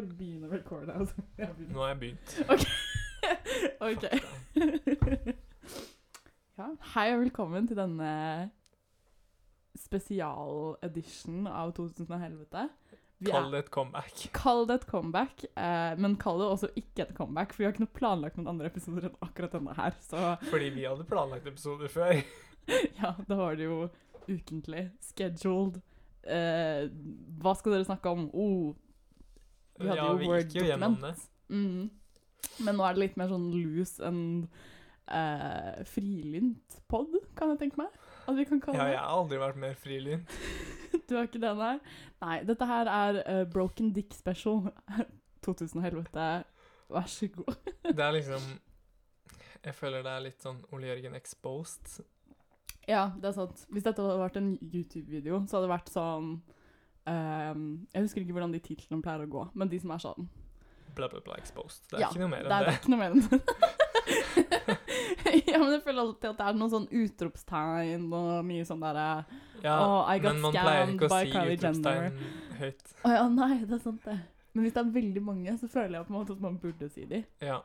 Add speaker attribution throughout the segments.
Speaker 1: begynne å recorde. Altså. Jeg begynner.
Speaker 2: Nå har jeg begynt.
Speaker 1: Ok. ja, hei og velkommen til denne spesial-edition av 2000 og helvete. Vi er-
Speaker 2: Kall det et comeback.
Speaker 1: Kall det et comeback, eh, men kall det også ikke et comeback, for vi har ikke noe planlagt noen andre episoder enn akkurat denne her. Så
Speaker 2: Fordi vi hadde planlagt episoder før.
Speaker 1: ja, da var det jo ukentlig, scheduled. Eh, hva skal dere snakke om? Oh, vi hadde
Speaker 2: ja,
Speaker 1: jo
Speaker 2: vi gikk jo gjennom det.
Speaker 1: Word-dokument. Mm. Men nå er det litt mer sånn loose enn eh, frilynt pod, kan jeg tenke meg. At vi kan kalle
Speaker 2: Ja,
Speaker 1: det.
Speaker 2: jeg har aldri vært mer frilynt.
Speaker 1: Du har ikke det, nei? Nei, dette her er eh, Broken Dick Special. 2000 og helvete, vær så god.
Speaker 2: Det er liksom Jeg føler det er litt sånn Ole Jørgen exposed.
Speaker 1: Ja, det er sant. Hvis dette hadde vært en YouTube-video, så hadde det vært sånn ehm, Jeg husker ikke hvordan de titlene pleier å gå, men de som er sånn
Speaker 2: Bla, bla, bla exposed. Det er
Speaker 1: Ja,
Speaker 2: ikke noe mer
Speaker 1: det
Speaker 2: enn
Speaker 1: er
Speaker 2: det.
Speaker 1: ikke noe mer enn det. ja, men jeg føler alltid at det er noen sånn utropstegn og mye sånn derre
Speaker 2: Ja,
Speaker 1: Åh, I got
Speaker 2: men man pleier
Speaker 1: scammed
Speaker 2: ikke å
Speaker 1: by
Speaker 2: si
Speaker 1: Kylie Jenner.
Speaker 2: utropstegn høyt.
Speaker 1: Å ja, nei, det er sant, det. Men hvis det er veldig mange, så føler jeg på en måte at man burde si de.
Speaker 2: Ja,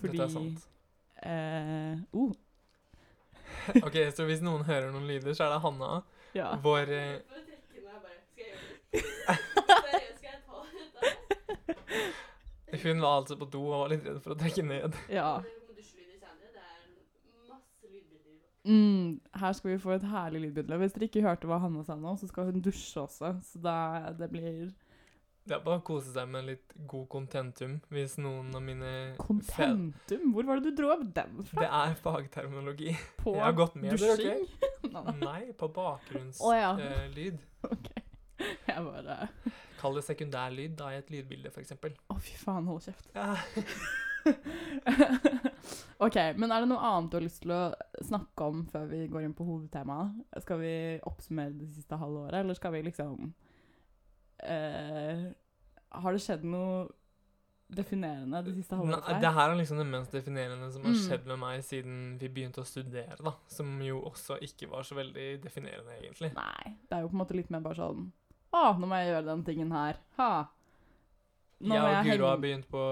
Speaker 1: Fordi
Speaker 2: dette er sant.
Speaker 1: eh, oh,
Speaker 2: OK, så hvis noen hører noen lyder, så er det Hanna.
Speaker 1: ja.
Speaker 2: Vår eh,
Speaker 3: For å trekke ned, bare Skal jeg gjøre det? Seriøst, skal jeg ta dette?
Speaker 2: Hun var altså på do og var litt redd for å trekke ned.
Speaker 1: ja.
Speaker 3: Det kommer dusjlyder senere. Det er masse lydbilder.
Speaker 1: Mm, her skal vi få et herlig lydbilde. Hvis dere ikke hørte hva Hanne sa nå, så skal hun dusje også, så da, det blir
Speaker 2: Det er bare å kose seg med litt god contentum hvis noen av mine fe-
Speaker 1: kontentum. Hvor var det du dro opp den
Speaker 2: Det
Speaker 1: fra?
Speaker 2: er fagterminologi.
Speaker 1: På
Speaker 2: Jeg har gått med dere,
Speaker 1: dusjing?
Speaker 2: ok?
Speaker 1: nei, nei.
Speaker 2: Nei, på bakgrunnslyd.
Speaker 1: Å ja.
Speaker 2: lyd.
Speaker 1: OK. Jeg bare
Speaker 2: Kall det sekundærlyd da i et lydbilde, f.eks.
Speaker 1: Å, fy faen, hold kjeft.
Speaker 2: Ja.
Speaker 1: OK, men er det noe annet du har lyst til å snakke om før vi går inn på hovedtemaet? Skal vi oppsummere det siste halve året, eller skal vi liksom eh, Har det skjedd noe definerende det siste halve året?
Speaker 2: Nei,
Speaker 1: for
Speaker 2: det
Speaker 1: deg?
Speaker 2: her er liksom det mest definerende som har
Speaker 1: Mm.
Speaker 2: skjedd med meg siden vi begynte å studere, da. Som jo også ikke var så veldig definerende, egentlig.
Speaker 1: Nei. Det er jo på en måte litt mer bare sånn Å, nå må jeg gjøre den tingen her. Ha. Nå
Speaker 2: jeg
Speaker 1: må
Speaker 2: og
Speaker 1: jeg
Speaker 2: Guro har
Speaker 1: henge
Speaker 2: begynt på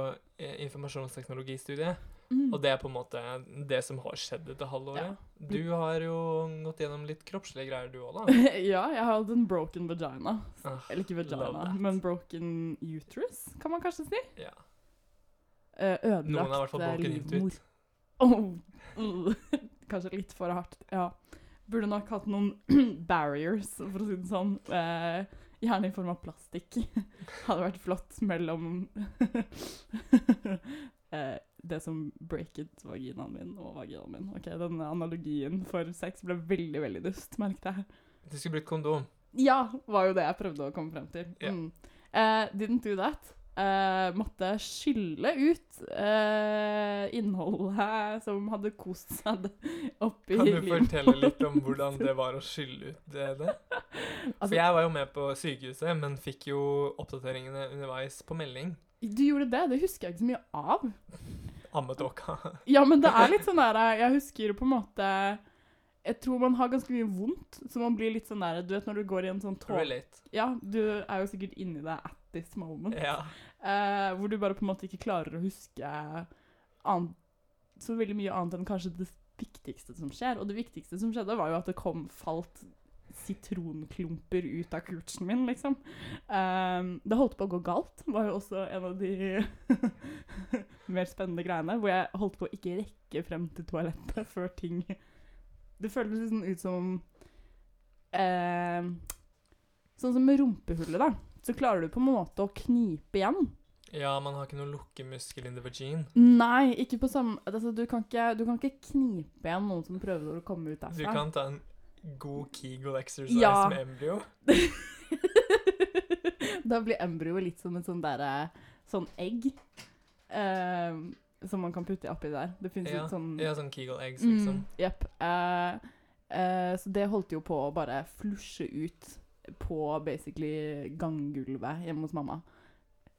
Speaker 2: eh, informasjonsteknologistudiet,
Speaker 1: Mm.
Speaker 2: og det er på en måte det som har skjedd dette halvåret. Du har jo gått gjennom litt kroppslige greier, du òg, da.
Speaker 1: ja, jeg har hatt en broken vagina.
Speaker 2: Ah,
Speaker 1: Eller ikke
Speaker 2: love
Speaker 1: vagina,
Speaker 2: that.
Speaker 1: men broken uterus, kan man kanskje si.
Speaker 2: Ja.
Speaker 1: Eh,
Speaker 2: Noen har i
Speaker 1: ødelagt
Speaker 2: hvert fall
Speaker 1: eh,
Speaker 2: broken
Speaker 1: livmor.
Speaker 2: intuit.
Speaker 1: Oh, uh, kanskje litt for hardt, ja. Burde nok hatt noen barriers, for å si det sånn. Eh, gjerne i form av plastikk. Hadde vært flott mellom eh, det som breaket vaginaen min og vaginaen min. Ok, Denne analogien for sex ble veldig, veldig dust, merket jeg.
Speaker 2: Du skulle brukt kondom.
Speaker 1: Ja, var jo det jeg prøvde å komme frem til.
Speaker 2: Ja.
Speaker 1: Mm. Eh, didn't do that. Eh, måtte skylle ut eh, innholdet som hadde kost seg d- oppi
Speaker 2: Kan du
Speaker 1: livet.
Speaker 2: fortelle litt om hvordan det var å skylle ut det? det?
Speaker 1: Altså-
Speaker 2: For jeg var jo med på sykehuset, men fikk jo oppdateringene underveis på melding.
Speaker 1: Du gjorde det? Det husker jeg ikke så mye av.
Speaker 2: Ammetåka.
Speaker 1: Ja, men det er litt sånn der eh, Jeg husker på en måte Jeg tror man har ganske mye vondt, så man blir litt sånn der Du vet når du går i en sånn tåke
Speaker 2: Relate.
Speaker 1: Ja, du er jo sikkert inni deg at this moment.
Speaker 2: Ja.
Speaker 1: Eh, hvor du bare på en måte ikke klarer å huske annet, så veldig mye annet enn kanskje det viktigste som skjer. Og det viktigste som skjedde, var jo at det kom falt sitronklumper ut av kursen min, liksom. Eh, det holdt på å gå galt, var jo også en av de mer spennende greiene. Hvor jeg holdt på å ikke rekke frem til toalettet før ting Det føltes liksom ut som eh, Sånn som med rumpehullet, da. Så klarer du på en måte å knipe igjen.
Speaker 2: ja, man har ikke noe lukkemuskel in the vagin.
Speaker 1: Nei, ikke på samme altså, du, kan ikke, du kan ikke knipe igjen noen som prøver å komme ut
Speaker 2: Du
Speaker 1: derfra.
Speaker 2: kan ta en god Kegel exercise
Speaker 1: Ja.
Speaker 2: med embryo.
Speaker 1: da blir embryoet litt som en sånn derre Sånn egg. eh, som man kan putte oppi der. Det fins
Speaker 2: Ja,
Speaker 1: litt sånn
Speaker 2: ja, sånn Kegel eggs, liksom.
Speaker 1: Mm, Jepp. Eh, eh, så det holdt jo på å bare flusje ut på basically ganggulvet hjemme hos mamma.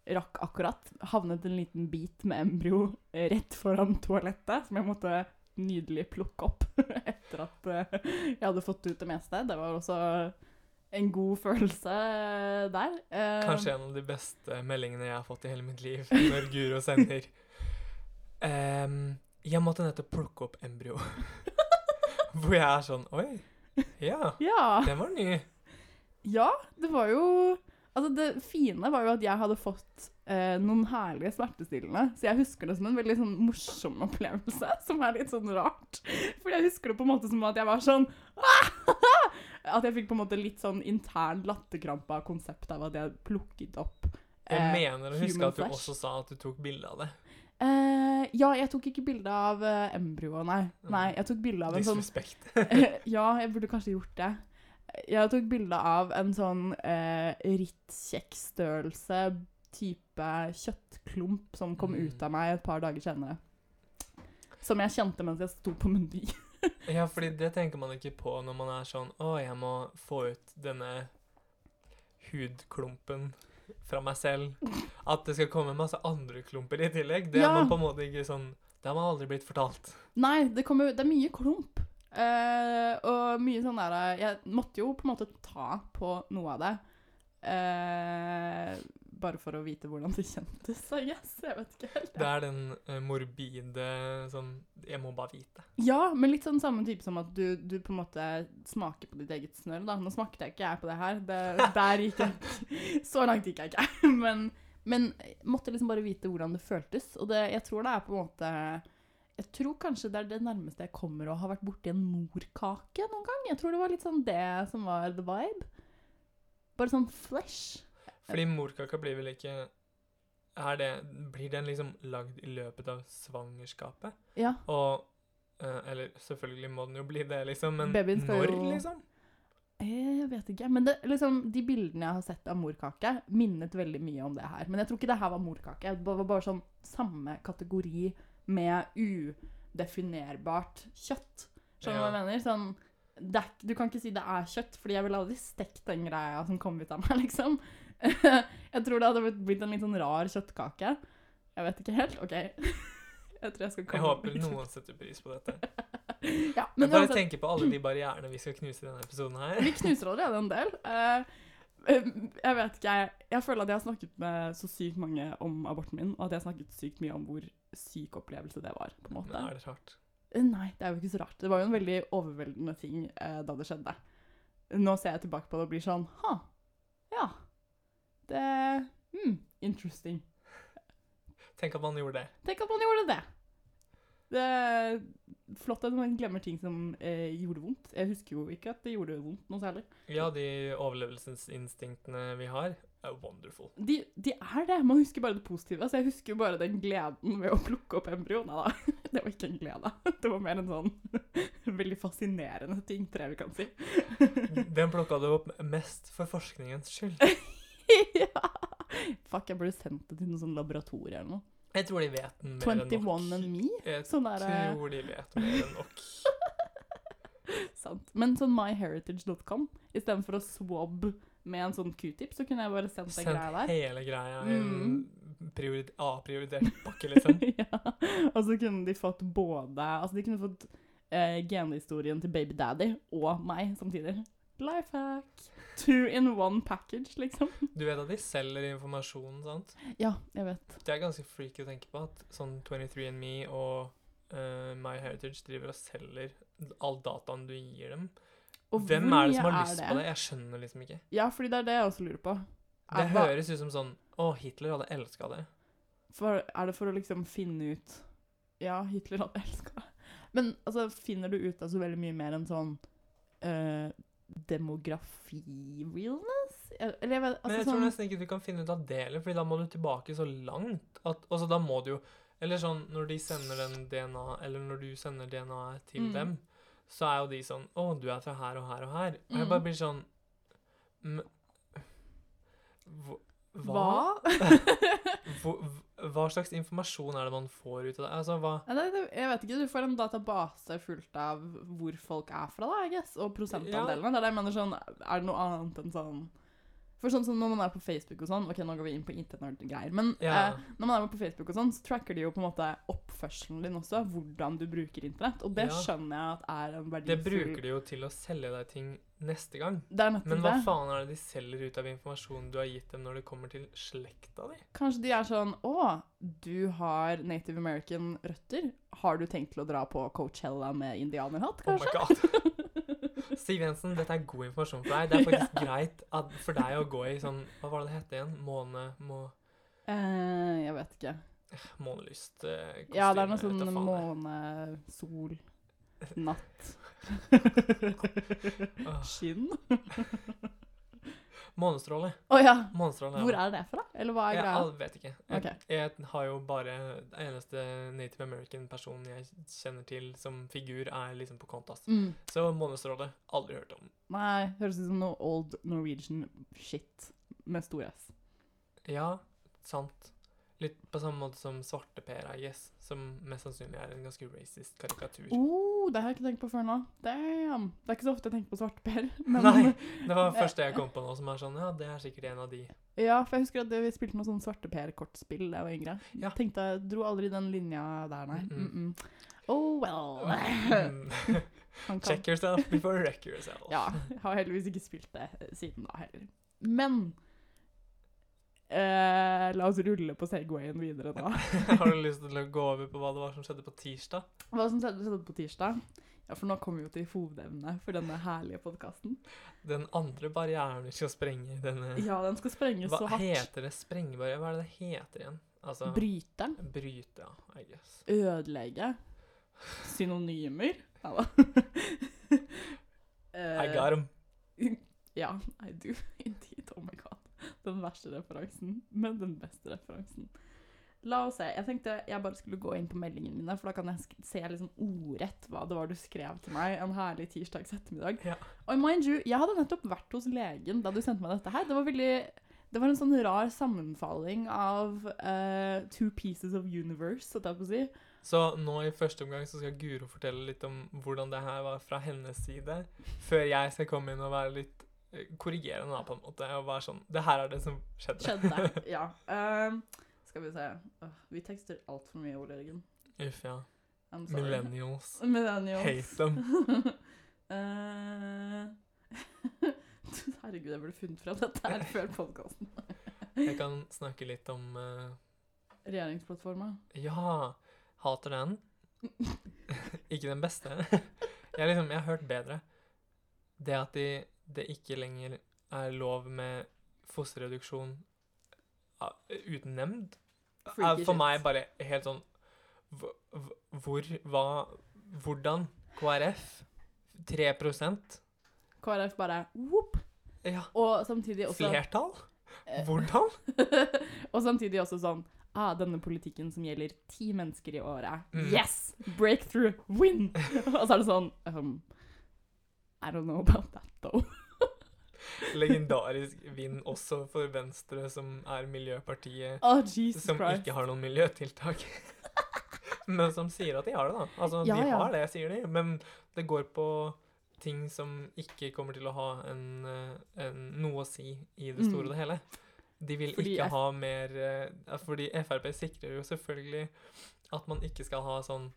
Speaker 1: Rakk akkurat. Havnet en liten bit med embryo eh, rett foran toalettet, som jeg måtte nydelig plukke opp etter at eh, jeg hadde fått ut det meste. Det var også en god følelse der. Eh,
Speaker 2: Kanskje en av de beste meldingene jeg har fått i hele mitt liv, når Guro sender ehm, 'Jeg måtte nettopp plukke opp embryo'. Hvor jeg er sånn Oi. Ja,
Speaker 1: Ja.
Speaker 2: den var ny.
Speaker 1: ja, det var jo Altså, det fine var jo at jeg hadde fått eh, noen herlige smertestillende, så jeg husker det som en veldig sånn morsom opplevelse, som er litt sånn rart. For jeg husker det på en måte som at jeg var sånn At jeg fikk på en måte litt sånn intern latterkrampe av konseptet av at jeg plukket opp
Speaker 2: Jeg
Speaker 1: eh,
Speaker 2: mener å huske
Speaker 1: human
Speaker 2: at du
Speaker 1: flesh.
Speaker 2: også sa at du tok bilde av det.
Speaker 1: Eh, ja, jeg tok ikke bilde av eh, embryoet, nei.
Speaker 2: Mm.
Speaker 1: Nei, jeg tok bilde av en sånn
Speaker 2: Disrespekt.
Speaker 1: Ja, jeg burde kanskje gjort det. Jeg tok bilde av en sånn eh, rittkjekkstørrelse type kjøttklump som kom
Speaker 2: Mm.
Speaker 1: ut av meg et par dager senere. Som jeg kjente mens jeg sto på Meny.
Speaker 2: Ja, fordi det tenker man ikke på når man er sånn Å, jeg må få ut denne hudklumpen fra meg selv. At det skal komme masse andre klumper i tillegg. Det
Speaker 1: Ja.
Speaker 2: er man på en måte ikke sånn Det har man aldri blitt fortalt.
Speaker 1: Nei, det, kommer- det er mye klump. Eh, og mye sånn der eh, Jeg måtte jo på en måte ta på noe av det. Eh, bare for å vite hvordan det kjentes, I guess. Jeg vet ikke helt.
Speaker 2: Det er den eh, morbide sånn Jeg må bare vite.
Speaker 1: Ja, men litt sånn samme type som at du, du på en måte smaker på ditt eget snørr, da. Nå smakte jeg ikke jeg på det her. Det, der gikk jeg Så langt gikk jeg ikke. Men, men jeg måtte liksom bare vite hvordan det føltes. Og det, jeg tror det er på en måte Jeg tror kanskje det er det nærmeste jeg kommer å ha vært borti en morkake noen gang. Jeg tror det var litt sånn det som var the vibe. Bare sånn flesh.
Speaker 2: Fordi morkaka blir vel ikke er det, Blir den liksom lagd i løpet av svangerskapet?
Speaker 1: Ja.
Speaker 2: Og eh, Eller selvfølgelig må den jo bli det, liksom, men
Speaker 1: Babyen skal
Speaker 2: når,
Speaker 1: jo-
Speaker 2: liksom?
Speaker 1: Eh, Jeg vet ikke. Men det, liksom, de bildene jeg har sett av morkake, minnet veldig mye om det her. Men jeg tror ikke det her var morkake. Det var bare sånn samme kategori med udefinerbart kjøtt. Skjønner du hva jeg mener? Sånn, det er, ikke- du kan ikke si det er kjøtt, fordi jeg ville aldri stekt den greia som kom ut av meg, liksom. jeg tror det hadde blitt- blitt en litt sånn rar kjøttkake. Jeg vet ikke helt. OK. jeg tror jeg skal komme
Speaker 2: Jeg håper
Speaker 1: litt-
Speaker 2: noen setter pris på dette.
Speaker 1: ja, men altså-
Speaker 2: Men bare
Speaker 1: uansett-
Speaker 2: tenke på alle de barrierene vi skal knuse i denne episoden her.
Speaker 1: Vi knuser allerede en del. Eh, eh, jeg vet ikke, jeg, jeg føler at jeg har snakket med så sykt mange om aborten min, og at jeg har snakket sykt mye om hvor syk opplevelse det var. på en
Speaker 2: Men
Speaker 1: måte.
Speaker 2: er det rart?
Speaker 1: Eh, Nei, det er jo ikke så rart. Det var jo en veldig overveldende ting eh, da det skjedde. Nå ser jeg tilbake på det og blir sånn Ha, ja. Det hmm, Interesting.
Speaker 2: Tenk at man gjorde det.
Speaker 1: Tenk at man gjorde det. Det er flott at man glemmer ting som eh, gjorde vondt. Jeg husker jo ikke at det gjorde vondt noe særlig.
Speaker 2: Ja, de overlevelsesinstinktene vi har, er wonderful.
Speaker 1: De, de er det. Man husker bare det positive. Så jeg husker jo bare den gleden ved å plukke opp embryo. Nei da, det var ikke en glede. Det var mer en sånn veldig fascinerende ting, tror jeg vi kan si.
Speaker 2: Den plukka du opp mest for forskningens skyld.
Speaker 1: ja. Fuck, jeg burde sendt det til noe sånn laboratorium eller noe.
Speaker 2: Jeg tror de vet mer enn
Speaker 1: 21
Speaker 2: nok.
Speaker 1: and me?
Speaker 2: Jeg
Speaker 1: Sånn der eh,
Speaker 2: tror de vet mer enn nok.
Speaker 1: sant. Men sånn myheritage.com, istedenfor å swab med en sånn q-tip, så kunne jeg bare sendt den
Speaker 2: Send
Speaker 1: greia der.
Speaker 2: hele greia i en
Speaker 1: Mm.
Speaker 2: priori- A-prioritert pakke, liksom.
Speaker 1: ja. Og så kunne de fått både Altså, de kunne fått eh, genhistorien til Baby Daddy og meg samtidig. Life hack. Two in one package, liksom.
Speaker 2: Du vet at de selger informasjon, sant?
Speaker 1: Ja, jeg vet.
Speaker 2: Det er ganske freaky å tenke på at sånn 23andMe og eh, MyHeritage driver og selger all dataen du gir dem. Hvem
Speaker 1: hvor
Speaker 2: er det som har
Speaker 1: mye
Speaker 2: lyst på det? Jeg skjønner liksom ikke.
Speaker 1: Ja, fordi det er det jeg også lurer på.
Speaker 2: Det
Speaker 1: Er, hva,
Speaker 2: høres ut som sånn Å, Hitler hadde elska det.
Speaker 1: for, er det for å liksom finne ut Ja, Hitler hadde elska det. Men altså, finner du ut av så veldig mye mer enn sånn eh, Demografi-realness? Eller jeg vet altså,
Speaker 2: Men jeg tror
Speaker 1: sånn,
Speaker 2: nesten ikke du kan finne ut av det heller, Fordi da må du tilbake så langt at Altså, da må du jo Eller sånn når de sender den DNA Eller når du sender DNA-et til
Speaker 1: Mm.
Speaker 2: dem, så er jo de sånn Å, du er fra her og her og her. Og
Speaker 1: Mm.
Speaker 2: jeg bare blir sånn "M- hva- Hva?
Speaker 1: Hva?
Speaker 2: Hva, hva slags informasjon er det man får ut av det? Altså, hva
Speaker 1: Ja, det, det- jeg vet ikke, Du får en database fullt av hvor folk er fra, da, I guess, og prosentandelene. Det er det jeg mener sånn, Er det noe annet enn sånn For sånn som når man er på Facebook og sånn Ok, nå går vi inn på internettgreier. Men
Speaker 2: Ja.
Speaker 1: eh, når man er på Facebook og sånn, så tracker de jo på en måte oppførselen din også. Hvordan du bruker internett. Og det
Speaker 2: Ja.
Speaker 1: skjønner jeg at er en verdifull
Speaker 2: Det bruker de jo til å selge deg ting neste gang.
Speaker 1: Det er nettopp
Speaker 2: Men hva
Speaker 1: det.
Speaker 2: faen er det de selger ut av informasjonen du har gitt dem når det kommer til slekta di?
Speaker 1: Kanskje de er sånn Å, du har Native American-røtter. Har du tenkt til å dra på Coachella med indianerhatt,
Speaker 2: Oh my
Speaker 1: kanskje?
Speaker 2: god. Siv Jensen, dette er god informasjon for deg. Det er faktisk greit at, for deg å gå i sånn Hva var det det het igjen? Måne... Må,
Speaker 1: eh, jeg vet ikke.
Speaker 2: månelyst eh,
Speaker 1: Ja, det er noe sånn måne, sol, natt Skinn?
Speaker 2: Månestråle.
Speaker 1: Å ja.
Speaker 2: Månestråle
Speaker 1: Hvor er det fra? Eller hva er
Speaker 2: jeg
Speaker 1: greia?
Speaker 2: al- vet ikke. Jeg,
Speaker 1: Ok.
Speaker 2: jeg har jo bare Den eneste native american-personen jeg kjenner til som figur, er liksom på Contest.
Speaker 1: Mm.
Speaker 2: Så Månestråle aldri hørt om.
Speaker 1: Nei, høres ut som noe old Norwegian shit med stor S.
Speaker 2: Ja, sant. Litt på samme måte som Svarteper, I guess, som mest sannsynlig er en ganske racist karikatur.
Speaker 1: Oh, det har jeg ikke tenkt på før nå. Damn. Det er ikke så ofte jeg tenker på svarteper. Men
Speaker 2: Nei, det var det første jeg kom på nå, som er sånn Ja, det er sikkert en av de.
Speaker 1: ja, for jeg husker at vi spilte noe sånn svarteper-kortspill da jeg var yngre.
Speaker 2: Ja.
Speaker 1: Tenkte jeg dro aldri den linja der, nei.
Speaker 2: Mm.
Speaker 1: Mm -mm. Oh well. Han
Speaker 2: Mm.
Speaker 1: kan.
Speaker 2: Check yourself before you wreck yourself.
Speaker 1: Ja, jeg har heldigvis ikke spilt det eh, siden da heller. Men eh, la oss rulle på Segwayen videre da.
Speaker 2: Har du lyst til å gå over på hva det var som skjedde på tirsdag?
Speaker 1: Hva som skjedde skjedde på tirsdag? Ja, for nå kommer vi jo til hovedevnet for denne herlige podkasten.
Speaker 2: Den andre barrieren vi skal sprenge i denne
Speaker 1: Ja, den skal sprenges så
Speaker 2: Hva
Speaker 1: hardt.
Speaker 2: heter det? Sprengebarriere? Hva er det det heter igjen? Altså
Speaker 1: Bryte.
Speaker 2: Bryte, ja. I guess.
Speaker 1: Ødelegge. Synonymer. Ja da.
Speaker 2: I
Speaker 1: Eh,
Speaker 2: got 'em.
Speaker 1: Ja, I do indeed. Oh my god. Den verste referansen, men den beste referansen. La oss se. Jeg tenkte jeg bare skulle gå inn på meldingene mine, for da kan jeg sk- se liksom ordrett hva det var du skrev til meg en herlig tirsdags ettermiddag.
Speaker 2: Ja.
Speaker 1: Og mind you, jeg hadde nettopp vært hos legen da du sendte meg dette her. Det var veldig det var en sånn rar sammenfalling av eh, two pieces of universe, holdt jeg på å si.
Speaker 2: Så nå i første omgang så skal Guro fortelle litt om hvordan det her var fra hennes side, før jeg skal komme inn og være litt eh, korrigerende da, på en måte, og være sånn, det her er det som skjedde.
Speaker 1: Skjedde. Ja. Ehm, skal vi se. Åh, vi tekster altfor mye ord, Jørgen.
Speaker 2: Uff, ja.
Speaker 1: I'm sorry.
Speaker 2: Millennials.
Speaker 1: Millennials.
Speaker 2: Hate them.
Speaker 1: Eh, Herregud, jeg burde funnet fram dette her før podkasten.
Speaker 2: Jeg kan snakke litt om, eh,
Speaker 1: Regjeringsplattforma.
Speaker 2: ja, hater den. ikke den beste. jeg liksom, jeg har hørt bedre. Det at de, det ikke lenger er lov med fosterreduksjon ah, uten nemnd, er
Speaker 1: Freaky
Speaker 2: for
Speaker 1: shit.
Speaker 2: meg bare helt sånn hv- hv- Hvor, hva Hvordan? KrF? 3
Speaker 1: KrF bare whoop.
Speaker 2: Ja.
Speaker 1: Og samtidig også
Speaker 2: Flertall?
Speaker 1: Eh.
Speaker 2: Hvordan?
Speaker 1: Og samtidig også sånn Ah, denne politikken som gjelder ti mennesker i året.
Speaker 2: Mm.
Speaker 1: Yes! Breakthrough! Win! Og så er det sånn um, I don't know about that, though.
Speaker 2: Legendarisk vinn også for Venstre, som er miljøpartiet
Speaker 1: Oh, Jesus
Speaker 2: som
Speaker 1: Christ.
Speaker 2: ikke har noen miljøtiltak. men som sier at de har det, da. Altså,
Speaker 1: Ja,
Speaker 2: de
Speaker 1: ja.
Speaker 2: har det, sier de, men det går på ting som ikke kommer til å ha en, eh, en, noe å si i det store
Speaker 1: Mm.
Speaker 2: og det hele. De vil
Speaker 1: Fordi
Speaker 2: ikke
Speaker 1: F-
Speaker 2: ha mer eh, Fordi Frp sikrer jo selvfølgelig at man ikke skal ha sånn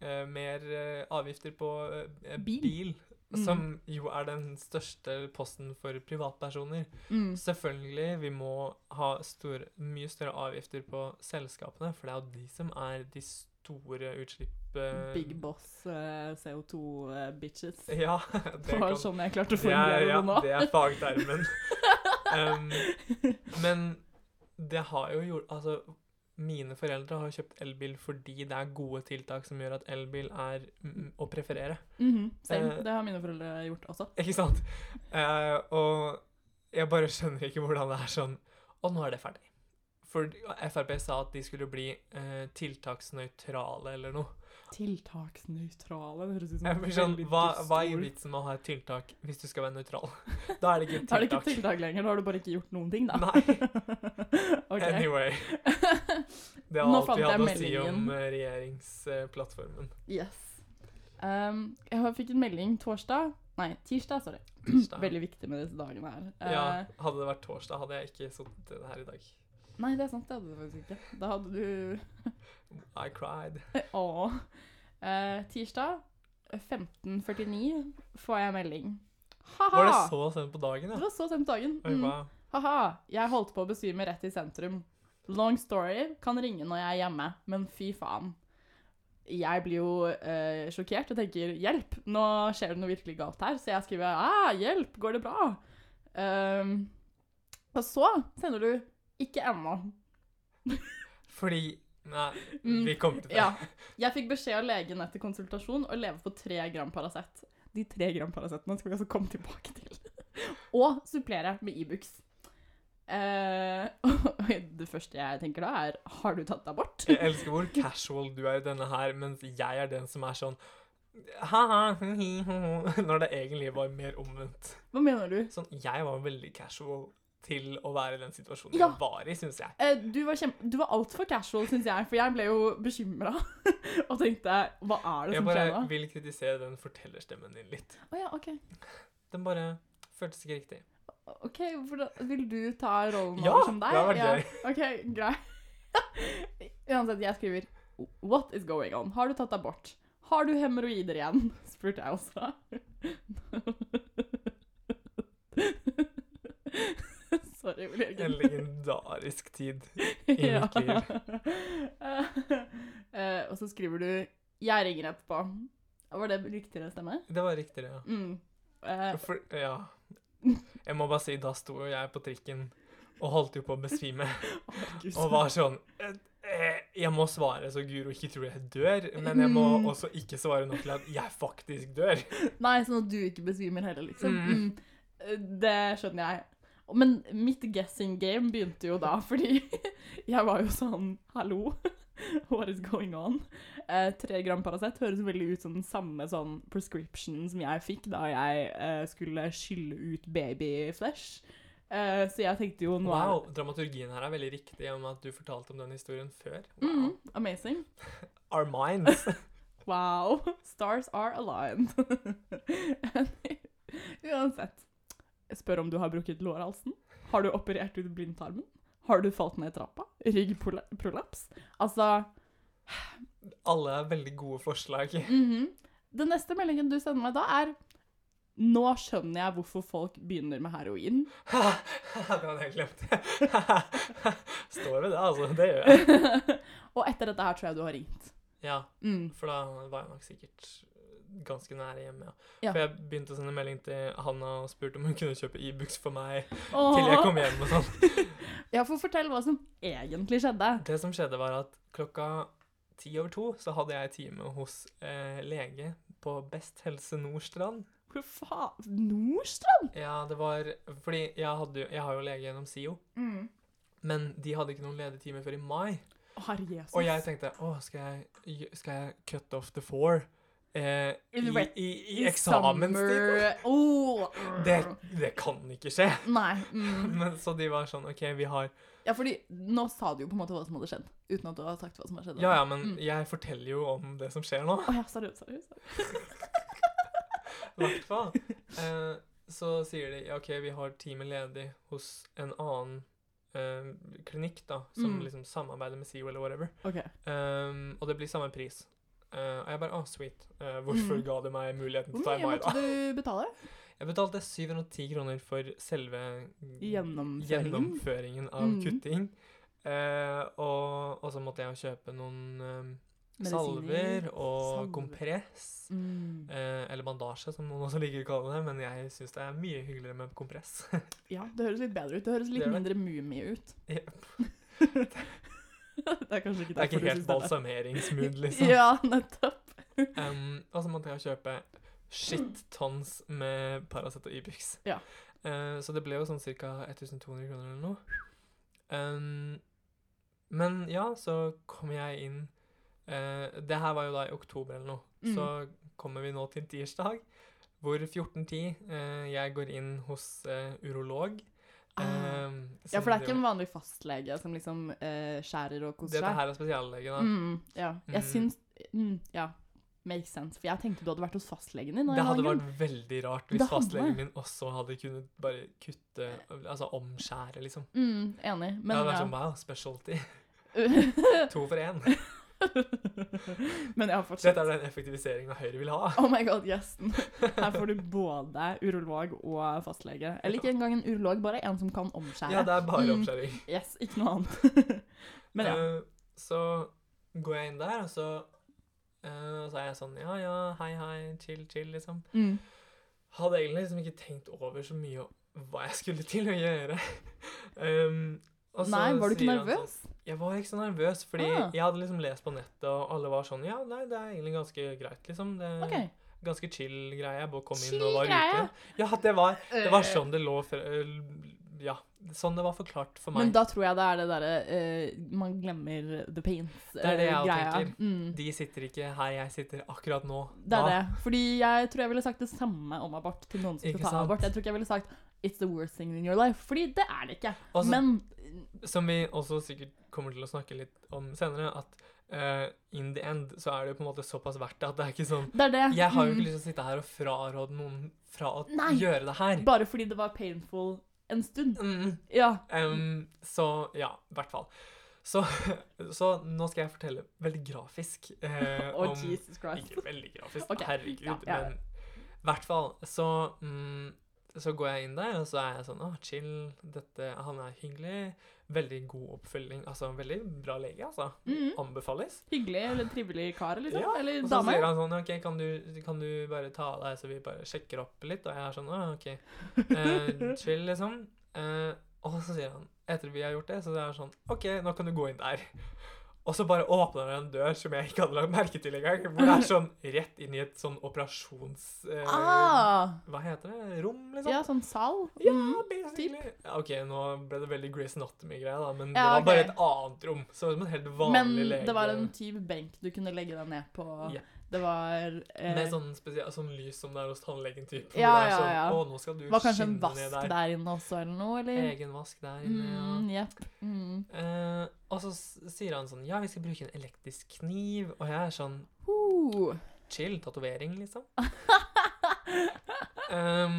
Speaker 2: eh, mer eh, avgifter på eh,
Speaker 1: Bil.
Speaker 2: bil, som jo er den største posten for privatpersoner.
Speaker 1: Mm.
Speaker 2: Selvfølgelig, vi må ha stor, mye større avgifter på selskapene, for det er jo de som er de store utslipp... eh,
Speaker 1: Big boss eh, CO2-bitches.
Speaker 2: Ja,
Speaker 1: Det
Speaker 2: det
Speaker 1: var
Speaker 2: kan
Speaker 1: sånn jeg klarte å
Speaker 2: det er,
Speaker 1: formulere
Speaker 2: ja,
Speaker 1: det nå.
Speaker 2: det er fagtermen. um, men det har jo gjort Altså, mine foreldre har kjøpt elbil fordi det er gode tiltak som gjør at elbil er mm, å preferere.
Speaker 1: Mhm, same.
Speaker 2: Eh,
Speaker 1: det har mine foreldre gjort også.
Speaker 2: Ikke sant? Eh, og jeg bare skjønner ikke hvordan det er sånn Og nå er det ferdig. For Frp sa at de skulle bli eh, tiltaksnøytrale eller noe.
Speaker 1: Tiltaksnøytrale, det høres ut som
Speaker 2: Jeg
Speaker 1: et
Speaker 2: blir sånn,
Speaker 1: veldig
Speaker 2: hva,
Speaker 1: dust
Speaker 2: hva er
Speaker 1: ord.
Speaker 2: vitsen med å ha et tiltak hvis du skal være nøytral? Da er det ikke et
Speaker 1: Da er det ikke
Speaker 2: tiltak.
Speaker 1: et tiltak lenger, da har du bare ikke gjort noen ting, da. Ok.
Speaker 2: Anyway. Det var
Speaker 1: Nå
Speaker 2: alt
Speaker 1: fant
Speaker 2: vi
Speaker 1: jeg
Speaker 2: hadde å si om
Speaker 1: meldingen.
Speaker 2: eh, regjeringsplattformen.
Speaker 1: Yes. Um, jeg har- fikk en melding torsdag Nei, tirsdag, sorry.
Speaker 2: Tirsdag.
Speaker 1: Veldig viktig med disse dagene her. Eh,
Speaker 2: Ja, hadde det vært torsdag, hadde jeg ikke sittet her i dag.
Speaker 1: Nei, det er sant, det hadde du faktisk ikke. Da hadde du
Speaker 2: I cried.
Speaker 1: Åh. Eh, tirsdag 15.49 får jeg melding. Ha-ha!
Speaker 2: Var det så sent på dagen,
Speaker 1: Det
Speaker 2: ja?
Speaker 1: var så sent på dagen.
Speaker 2: Oi,
Speaker 1: Mm.
Speaker 2: wow.
Speaker 1: Ha-ha! Jeg holdt på å besvime rett i sentrum. Long story. Kan ringe når jeg er hjemme, men fy faen. Jeg blir jo eh, sjokkert og tenker 'hjelp, nå skjer det noe virkelig galt her', så jeg skriver ah, 'hjelp, går det bra?' Ehm, og så sender du 'ikke ennå'.
Speaker 2: Fordi Nei,
Speaker 1: Mm,
Speaker 2: vi kommer til det.
Speaker 1: Ja. Jeg fikk beskjed av legen etter konsultasjon å leve på tre gram Paracet. De tre gram Paracetene skal vi altså komme tilbake til. Og supplere med Ibux. Eh, og det første jeg tenker da, er har du tatt abort?
Speaker 2: Jeg elsker hvor casual du er i denne her, mens jeg er den som er sånn ha-ha, hi-hi, ho-ho, når det egentlig var mer omvendt.
Speaker 1: Hva mener du?
Speaker 2: Sånn, jeg var veldig casual til å være i den situasjonen
Speaker 1: Ja.
Speaker 2: jeg var i, syns jeg.
Speaker 1: Eh, du var, kjempe- du var altfor casual, syns jeg, for jeg ble jo bekymra. og tenkte hva er det sånn
Speaker 2: Jeg
Speaker 1: som skjer
Speaker 2: bare
Speaker 1: nå?
Speaker 2: vil kritisere den fortellerstemmen din litt.
Speaker 1: Å ja, OK.
Speaker 2: Den bare føltes ikke riktig.
Speaker 1: Ok, hvordan- Vil du ta rollen
Speaker 2: Ja,
Speaker 1: over som deg?
Speaker 2: det hadde vært gøy.
Speaker 1: Ok, grei. Uansett, jeg skriver What is going on? Har du tatt abort? Har du hemoroider igjen? spurte jeg også. Sorry, Ole
Speaker 2: En
Speaker 1: Jørgen.
Speaker 2: legendarisk tid i
Speaker 1: Ja.
Speaker 2: mitt liv.
Speaker 1: Eh, og så skriver du 'Jeg ringer etterpå'. Var det riktigere stemme?
Speaker 2: Det var riktigere, ja.
Speaker 1: Mm. Eh,
Speaker 2: For, ja. Jeg må bare si, da sto jo jeg på trikken og holdt jo på å besvime.
Speaker 1: herregud.
Speaker 2: Og var sånn eh, eh, Jeg må svare så Guro ikke tror jeg dør, men jeg må
Speaker 1: Mm.
Speaker 2: også ikke svare nok til at jeg faktisk dør.
Speaker 1: Nei, sånn at du ikke besvimer heller, liksom.
Speaker 2: Mm.
Speaker 1: Mm. Det skjønner jeg. Men mitt guessing game begynte jo da, fordi jeg var jo sånn Hallo, what is going on? Eh, tre gram Paracet høres veldig ut som den samme sånn prescription som jeg fikk da jeg eh, skulle skylle ut babyflesh. Eh, så jeg tenkte jo nå er-
Speaker 2: Wow, dramaturgien her er veldig riktig om at du fortalte om den historien før. Wow.
Speaker 1: Mm, amazing.
Speaker 2: Our minds.
Speaker 1: Wow. Stars are aligned. Uansett. Jeg spør om du har brukket lårhalsen. Har du operert ut blindtarmen? Har du falt ned trappa? Ryggprolaps? Altså
Speaker 2: Alle er veldig gode forslag.
Speaker 1: mhm. Den neste meldingen du sender meg da, er Nå skjønner jeg hvorfor folk begynner med heroin.
Speaker 2: det hadde jeg glemt. Står det det, altså? Det gjør jeg.
Speaker 1: Og etter dette her tror jeg du har ringt.
Speaker 2: Ja,
Speaker 1: Mm.
Speaker 2: for da var jeg nok sikkert ganske nære hjemme, ja.
Speaker 1: Ja.
Speaker 2: For jeg begynte å sende melding til Hanna og spurte om hun kunne kjøpe Ibux for meg til jeg
Speaker 1: Åh.
Speaker 2: kom hjem og sånn.
Speaker 1: Ja, for fortell hva som egentlig skjedde.
Speaker 2: Det som skjedde var at klokka ti over to så hadde jeg time hos eh, lege på Best Helse Nordstrand.
Speaker 1: Hvor faen Nordstrand?
Speaker 2: Ja, det var Fordi jeg, hadde, jo- jeg har jo lege gjennom SIO,
Speaker 1: Mm.
Speaker 2: men de hadde ikke noen ledige timer før i mai.
Speaker 1: Herre Jesus.
Speaker 2: Og jeg tenkte å, skal jeg, skal jeg cut off the four eh, i,
Speaker 1: In the wet-
Speaker 2: i, i
Speaker 1: Summer-
Speaker 2: eksamenstid?
Speaker 1: Åh.
Speaker 2: Det, det kan ikke skje.
Speaker 1: Nei. Mm.
Speaker 2: Men, så de var sånn OK, vi har
Speaker 1: Ja, fordi nå sa du jo på en måte hva som hadde skjedd, uten at du har sagt hva som hadde skjedd.
Speaker 2: Ja ja, men
Speaker 1: Mm.
Speaker 2: jeg forteller jo om det som skjer nå.
Speaker 1: Å ja, seriøst, seriøst.
Speaker 2: I hvert fall. Eh, så sier de ja, OK, vi har time ledig hos en annen eh, klinikk, da, som
Speaker 1: Mm.
Speaker 2: liksom samarbeider med SIO eller whatever.
Speaker 1: Ok.
Speaker 2: Um, og det blir samme pris. Eh, og jeg bare Å, sweet. Eh, hvorfor
Speaker 1: Mm.
Speaker 2: ga du meg muligheten
Speaker 1: Hvor
Speaker 2: til å ta i
Speaker 1: mye
Speaker 2: mai, da?
Speaker 1: måtte du betale?
Speaker 2: Jeg betalte 710 kroner for selve
Speaker 1: Gjennomføringen.
Speaker 2: gjennomføringen av
Speaker 1: Mm.
Speaker 2: kutting. Eh, og, og så måtte jeg jo kjøpe noen eh, salver
Speaker 1: Medisiner,
Speaker 2: og
Speaker 1: salver.
Speaker 2: kompress.
Speaker 1: Mm.
Speaker 2: Eh, eller bandasje, som noen også liker å kalle det. Men jeg syns det er mye hyggeligere med kompress.
Speaker 1: Ja, det høres litt bedre ut. Det høres litt
Speaker 2: Det gjør
Speaker 1: mindre mumie ut.
Speaker 2: Jep.
Speaker 1: det er kanskje ikke
Speaker 2: Det er
Speaker 1: derfor
Speaker 2: ikke
Speaker 1: du
Speaker 2: helt
Speaker 1: synes det.
Speaker 2: balsameringsmood, liksom.
Speaker 1: Ja, nettopp.
Speaker 2: Em, og så måtte jeg kjøpe shit tons med Paracet og Ibux.
Speaker 1: Ja.
Speaker 2: Eh, så det ble jo sånn ca. 1200 kroner eller noe. Em, men ja, så kom jeg inn eh, Det her var jo da i oktober eller noe.
Speaker 1: Mm.
Speaker 2: Så kommer vi nå til tirsdag, hvor 14.10 eh, jeg går inn hos eh, urolog.
Speaker 1: Ah.
Speaker 2: em,
Speaker 1: Ja,
Speaker 2: som
Speaker 1: for det er ikke
Speaker 2: driver-
Speaker 1: en vanlig fastlege som liksom eh, skjærer og koser
Speaker 2: Dette
Speaker 1: seg.
Speaker 2: her er spesiallege, da.
Speaker 1: Mm, ja. Jeg
Speaker 2: Mm.
Speaker 1: syns mm, Ja, makes sense. For jeg tenkte du hadde vært hos fastlegen din. av en
Speaker 2: Det
Speaker 1: eller annen
Speaker 2: hadde
Speaker 1: grunn.
Speaker 2: vært veldig rart
Speaker 1: Det
Speaker 2: hvis
Speaker 1: hadde
Speaker 2: fastlegen
Speaker 1: det.
Speaker 2: min også hadde kunnet bare kutte Altså omskjære, liksom.
Speaker 1: Mm, enig.
Speaker 2: det
Speaker 1: Men
Speaker 2: hadde vært
Speaker 1: ja.
Speaker 2: sånn wow, specialty. To for én.
Speaker 1: Men jeg har fortsatt
Speaker 2: Dette er den effektiviseringen Høyre vil ha.
Speaker 1: Oh my god, gjesten. Her får du både urolog og fastlege. Eller ikke engang en urolog, bare en som kan omskjære.
Speaker 2: Ja, det er bare
Speaker 1: Mm.
Speaker 2: omskjæring.
Speaker 1: Yes, ikke noe annet. Men ja.
Speaker 2: Eh, så går jeg inn der, og så, eh, og så er jeg sånn Ja, ja, hei, hei, chill, chill, liksom.
Speaker 1: Mm.
Speaker 2: Hadde egentlig liksom ikke tenkt over så mye om hva jeg skulle til å gjøre. Em, og så
Speaker 1: Nei, var du ikke
Speaker 2: sier han
Speaker 1: nervøs?
Speaker 2: Sånn, jeg var ikke så nervøs, fordi
Speaker 1: Ah.
Speaker 2: jeg hadde liksom lest på nettet, og alle var sånn Ja, nei, det er egentlig ganske greit, liksom. Det er
Speaker 1: OK.
Speaker 2: Ganske chill greie. Jeg bare kom inn
Speaker 1: Chill
Speaker 2: og var
Speaker 1: greie? Eh.
Speaker 2: ute. Ja, det var, det var sånn det lå fra- Ja, sånn det var forklart for meg.
Speaker 1: Men da tror jeg det er det derre eh, Man glemmer the pains-greia.
Speaker 2: er det jeg også tenker.
Speaker 1: Mm.
Speaker 2: De sitter ikke her jeg sitter akkurat nå.
Speaker 1: Det er
Speaker 2: Da-
Speaker 1: det. Fordi jeg tror jeg ville sagt det samme om abort til noen som
Speaker 2: Ikke
Speaker 1: skal ta
Speaker 2: sant?
Speaker 1: abort. Jeg tror ikke jeg ville sagt 'it's the worst thing in your life', fordi det er det ikke.
Speaker 2: Og så-
Speaker 1: Men
Speaker 2: Som vi også sikkert kommer til å snakke litt om senere, at eh, in the end så er det jo på en måte såpass verdt det at det er ikke sånn
Speaker 1: det er det.
Speaker 2: Jeg har jo
Speaker 1: Mm.
Speaker 2: ikke lyst til å sitte her og fraråde noen fra å
Speaker 1: Nei.
Speaker 2: gjøre det her.
Speaker 1: Bare fordi det var painful en stund.
Speaker 2: Mm,
Speaker 1: Ja.
Speaker 2: em, så ja, i hvert fall. Så, så nå skal jeg fortelle veldig grafisk eh,
Speaker 1: Å,
Speaker 2: om
Speaker 1: Jesus Christ.
Speaker 2: Ikke veldig grafisk,
Speaker 1: Ok,
Speaker 2: herregud.
Speaker 1: ja, ja.
Speaker 2: Men i hvert fall så, mm, så går jeg inn der, og så er jeg sånn Å, chill. Dette, han er hyggelig. Veldig god oppfølging. Altså, veldig bra lege, altså.
Speaker 1: Mhm.
Speaker 2: Anbefales.
Speaker 1: Hyggelig eller trivelig kar, liksom.
Speaker 2: Ja,
Speaker 1: eller
Speaker 2: Og så sier
Speaker 1: dame.
Speaker 2: han sånn OK, kan du, kan du bare ta av deg, så vi bare sjekker opp litt? Og jeg er sånn Å, OK. Eh, chill, liksom. Eh, og så sier han Etter vi har gjort det, så det er sånn OK, nå kan du gå inn der. Og så bare åpner han en dør som jeg ikke hadde lagt merke til engang. Hvor det er sånn rett inn i et sånn operasjons... eh,
Speaker 1: Ah,
Speaker 2: Hva heter det? Rom, liksom?
Speaker 1: ja, sånn sal.
Speaker 2: Ja,
Speaker 1: Mm.
Speaker 2: basically. Ja, OK, nå ble det veldig Grace Anatomy-greie, da, men det
Speaker 1: Ja,
Speaker 2: var bare
Speaker 1: ok.
Speaker 2: et annet rom. Så som en helt vanlig
Speaker 1: Men
Speaker 2: lege.
Speaker 1: det var en type benk du kunne legge deg ned på.
Speaker 2: Ja.
Speaker 1: Det var
Speaker 2: Med
Speaker 1: eh,
Speaker 2: sånn, spesiell, sånn lys som det er hos tannlegen-typen.
Speaker 1: Ja,
Speaker 2: hvor det er
Speaker 1: ja,
Speaker 2: sånn,
Speaker 1: ja.
Speaker 2: Å, nå skal du
Speaker 1: var kanskje en
Speaker 2: skinne
Speaker 1: vask
Speaker 2: ned
Speaker 1: der. inne også, eller noe? Eller?
Speaker 2: Egen vask der inne,
Speaker 1: Mm,
Speaker 2: ja.
Speaker 1: jepp. Mm.
Speaker 2: Eh, og så s- sier han sånn Ja, vi skal bruke en elektrisk kniv. Og jeg er sånn
Speaker 1: Uh.
Speaker 2: Chill. Tatovering, liksom. um,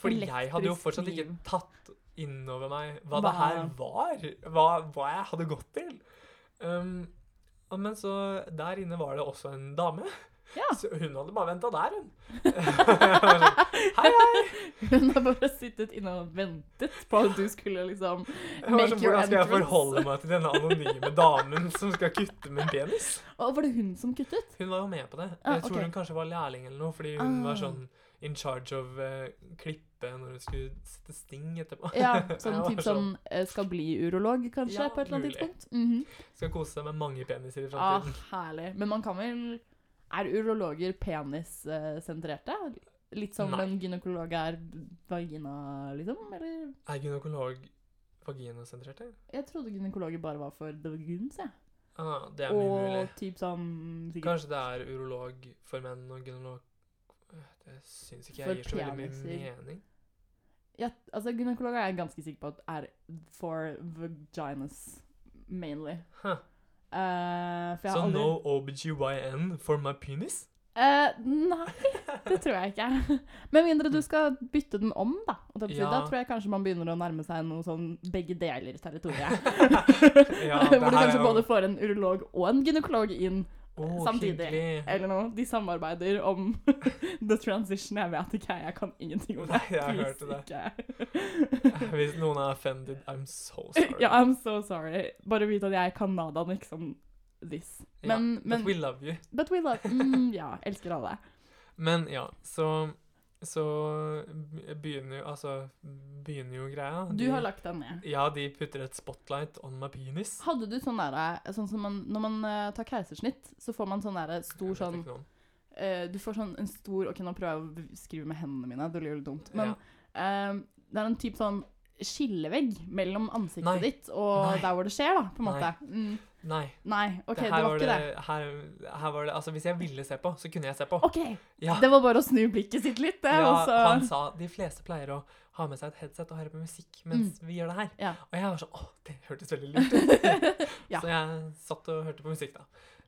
Speaker 2: fordi jeg hadde jo
Speaker 1: Elektrisk
Speaker 2: fortsatt ikke
Speaker 1: kniv.
Speaker 2: tatt innover meg hva det her
Speaker 1: Hva-
Speaker 2: var. Hva, hva jeg hadde gått til. Um, og men så Der inne var det også en dame.
Speaker 1: Ja.
Speaker 2: Så hun hadde bare venta der, hun. Jeg var sånn, hei, hei.
Speaker 1: Hun har bare sittet inne og ventet på at du skulle liksom
Speaker 2: Jeg var
Speaker 1: Make
Speaker 2: sånn,
Speaker 1: your
Speaker 2: Hvordan skal jeg
Speaker 1: entrance.
Speaker 2: forholde meg til denne anonyme damen som skal kutte min penis?
Speaker 1: Å, var det hun som kuttet?
Speaker 2: Hun var jo med på det.
Speaker 1: Ah,
Speaker 2: Jeg tror
Speaker 1: ok.
Speaker 2: hun kanskje var lærling eller noe, fordi hun
Speaker 1: Ah.
Speaker 2: var sånn in charge of eh, klippe når hun skulle sette sting etterpå.
Speaker 1: Ja, sånn
Speaker 2: Jeg var
Speaker 1: typ sånn eh, skal bli urolog, kanskje,
Speaker 2: Ja,
Speaker 1: på et eller annet
Speaker 2: mulig. Sånn
Speaker 1: tidspunkt. Mhm.
Speaker 2: Skal kose seg med mange peniser i
Speaker 1: Ah,
Speaker 2: framtiden.
Speaker 1: herlig. Men man kan vel Er urologer penissentrerte? Litt som
Speaker 2: Nei.
Speaker 1: en gynekolog er vagina, liksom? Eller
Speaker 2: Er gynekolog vaginasentrert? det?
Speaker 1: Jeg trodde gynekologer bare var for the guns, jeg.
Speaker 2: Ah, det er mye mulig.
Speaker 1: Og typ sånn sikkert
Speaker 2: Kanskje det er urolog for menn og gynekolog Det syns ikke
Speaker 1: For
Speaker 2: jeg gir så veldig mye
Speaker 1: peniser.
Speaker 2: mening.
Speaker 1: ja, Altså, gynekologer er jeg ganske sikker på at er for vaginas mainly.
Speaker 2: Huh.
Speaker 1: Eh, for jeg
Speaker 2: Så
Speaker 1: har aldri
Speaker 2: no OBGYN for my penis?
Speaker 1: Eh, nei, det tror jeg ikke. Med mindre du skal bytte den om, da. Og da,
Speaker 2: Ja.
Speaker 1: da tror jeg kanskje man begynner å nærme seg noe sånn begge deler-territoriet.
Speaker 2: Ja, det
Speaker 1: Hvor du
Speaker 2: her er
Speaker 1: kanskje
Speaker 2: jo-
Speaker 1: både får en urolog og en gynekolog inn,
Speaker 2: Åh,
Speaker 1: Samtidig.
Speaker 2: hyggelig.
Speaker 1: eller noe. De samarbeider om the transition. Jeg vet ikke, jeg kan ingenting om det.
Speaker 2: Nei, jeg
Speaker 1: Please,
Speaker 2: hørte det.
Speaker 1: ikke.
Speaker 2: Hvis noen er offended, I'm so sorry.
Speaker 1: Ja, I'm so sorry. Bare vit at jeg er Canadaen, ikke som this.
Speaker 2: Ja,
Speaker 1: Men, men
Speaker 2: But we love you.
Speaker 1: But we love mm, Ja, elsker alle.
Speaker 2: Men ja, så Så begynner jo Altså, begynner jo greia.
Speaker 1: Du
Speaker 2: De-
Speaker 1: har lagt deg ned.
Speaker 2: Ja, de putter et spotlight on my penis.
Speaker 1: Hadde du sånn der, sånn som man, når man eh, tar keisersnitt, så får man sånn der
Speaker 2: Jeg
Speaker 1: stor
Speaker 2: vet
Speaker 1: sånn
Speaker 2: ikke noe om.
Speaker 1: eh, Du får sånn en stor Ok, nå prøver jeg å skrive med hendene mine, det blir jo litt dumt. Men
Speaker 2: Ja.
Speaker 1: eh, det er en type sånn skillevegg mellom ansiktet
Speaker 2: Nei.
Speaker 1: ditt og
Speaker 2: Nei.
Speaker 1: der hvor det skjer, da, på en
Speaker 2: Nei.
Speaker 1: måte. Mm.
Speaker 2: Nei.
Speaker 1: Nei, OK, det,
Speaker 2: her
Speaker 1: var ikke det.
Speaker 2: Her, her var det Altså, hvis jeg ville se på, så kunne jeg se på.
Speaker 1: OK!
Speaker 2: Ja,
Speaker 1: Det var bare å snu blikket sitt litt, det.
Speaker 2: ja
Speaker 1: og så-
Speaker 2: han sa de fleste pleier å ha med seg et headset og høre på musikk mens vi gjør det her.
Speaker 1: Mm. Ja.
Speaker 2: Og jeg var sånn Å, det hørtes veldig lurt ut.
Speaker 1: Ja.
Speaker 2: Så jeg satt og hørte på musikk, da.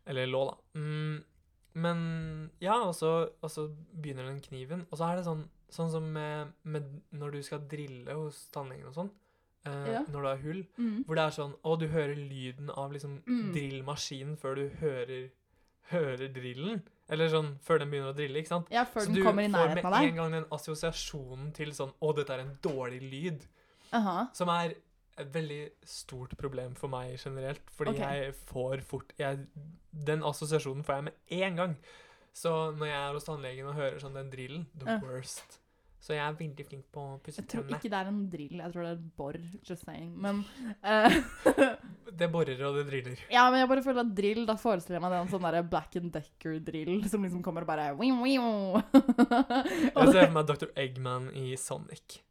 Speaker 2: Eller lå, da. Mm, men ja, og så, og så begynner den kniven. Og så er det sånn, sånn som med, med når du skal drille hos tannlegen og sånn. eh,
Speaker 1: Ja.
Speaker 2: når det er hull.
Speaker 1: Mm.
Speaker 2: Hvor det er sånn Å, du hører lyden av liksom
Speaker 1: Mm.
Speaker 2: drillmaskinen før du hører, hører drillen. Eller sånn før den begynner å drille, ikke sant?
Speaker 1: Ja, før
Speaker 2: Så
Speaker 1: den
Speaker 2: du
Speaker 1: kommer i
Speaker 2: får med
Speaker 1: nærheten av deg.
Speaker 2: en gang den assosiasjonen til sånn Å, dette er en dårlig lyd.
Speaker 1: Aha.
Speaker 2: Som er et veldig stort problem for meg generelt. Fordi
Speaker 1: Ok.
Speaker 2: jeg får fort jeg, Den assosiasjonen får jeg med en gang. Så når jeg er hos tannlegen og hører sånn den drillen The
Speaker 1: Ja.
Speaker 2: worst. Så jeg er veldig flink på å pusse
Speaker 1: Jeg tror
Speaker 2: tennene.
Speaker 1: ikke det er en drill, jeg tror det er et bor, just saying. Men, eh,
Speaker 2: Det borer og det driller.
Speaker 1: ja, men jeg bare føler at drill, da forestiller jeg meg det er en sånn der Black and Decker-drill som liksom kommer og bare wing, wing.
Speaker 2: Jeg
Speaker 1: Og
Speaker 2: ser for meg Dr. Eggman i Sonic.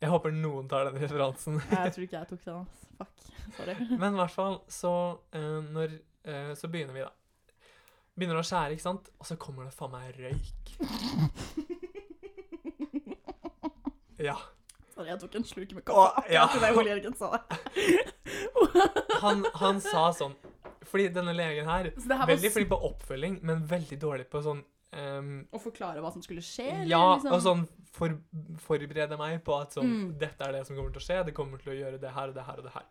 Speaker 2: Jeg håper noen tar den referansen.
Speaker 1: Jeg tror ikke jeg tok den, ass. Fuck. Sorry.
Speaker 2: Men i hvert fall, så eh, når eh, Så begynner vi, da. Begynner å skjære, ikke sant? Og så kommer det faen meg røyk. Ja.
Speaker 1: Sorry, jeg tok en sluk med
Speaker 2: Åh,
Speaker 1: kaffe
Speaker 2: ja.
Speaker 1: akkurat idet Ole Jørgen sa det.
Speaker 2: Han, han sa sånn Fordi denne legen her
Speaker 1: Så det her var
Speaker 2: Veldig flink på oppfølging, men veldig dårlig på sånn ehm,
Speaker 1: å forklare hva som skulle skje? eller
Speaker 2: Ja,
Speaker 1: liksom?
Speaker 2: og sånn for, forberede meg på at sånn
Speaker 1: Mm.
Speaker 2: Dette er det som kommer til å skje. Det kommer til å gjøre det her og det her og det her.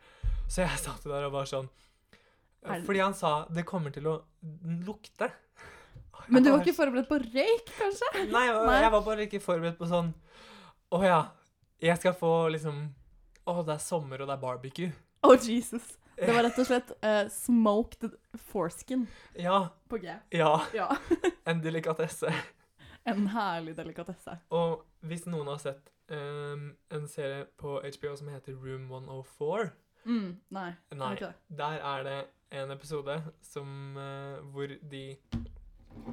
Speaker 2: Så jeg satt der og var sånn
Speaker 1: Er det-
Speaker 2: Fordi han sa det kommer til å lukte.
Speaker 1: Men du
Speaker 2: altså-
Speaker 1: var ikke forberedt på røyk, kanskje?
Speaker 2: Nei, jeg,
Speaker 1: Nei.
Speaker 2: jeg var bare ikke forberedt på sånn Å ja, jeg skal få liksom Å, det er sommer, og det er barbecue.
Speaker 1: Oh, Jesus. Det var rett og slett eh, smoked foreskin
Speaker 2: Ja.
Speaker 1: på G.
Speaker 2: Ja.
Speaker 1: Ja.
Speaker 2: En delikatesse.
Speaker 1: En herlig delikatesse.
Speaker 2: Og hvis noen har sett ehm, en serie på HBO som heter Room 104
Speaker 1: Mm, nei. det
Speaker 2: Nei,
Speaker 1: var ikke det.
Speaker 2: der er det en episode som, eh, hvor de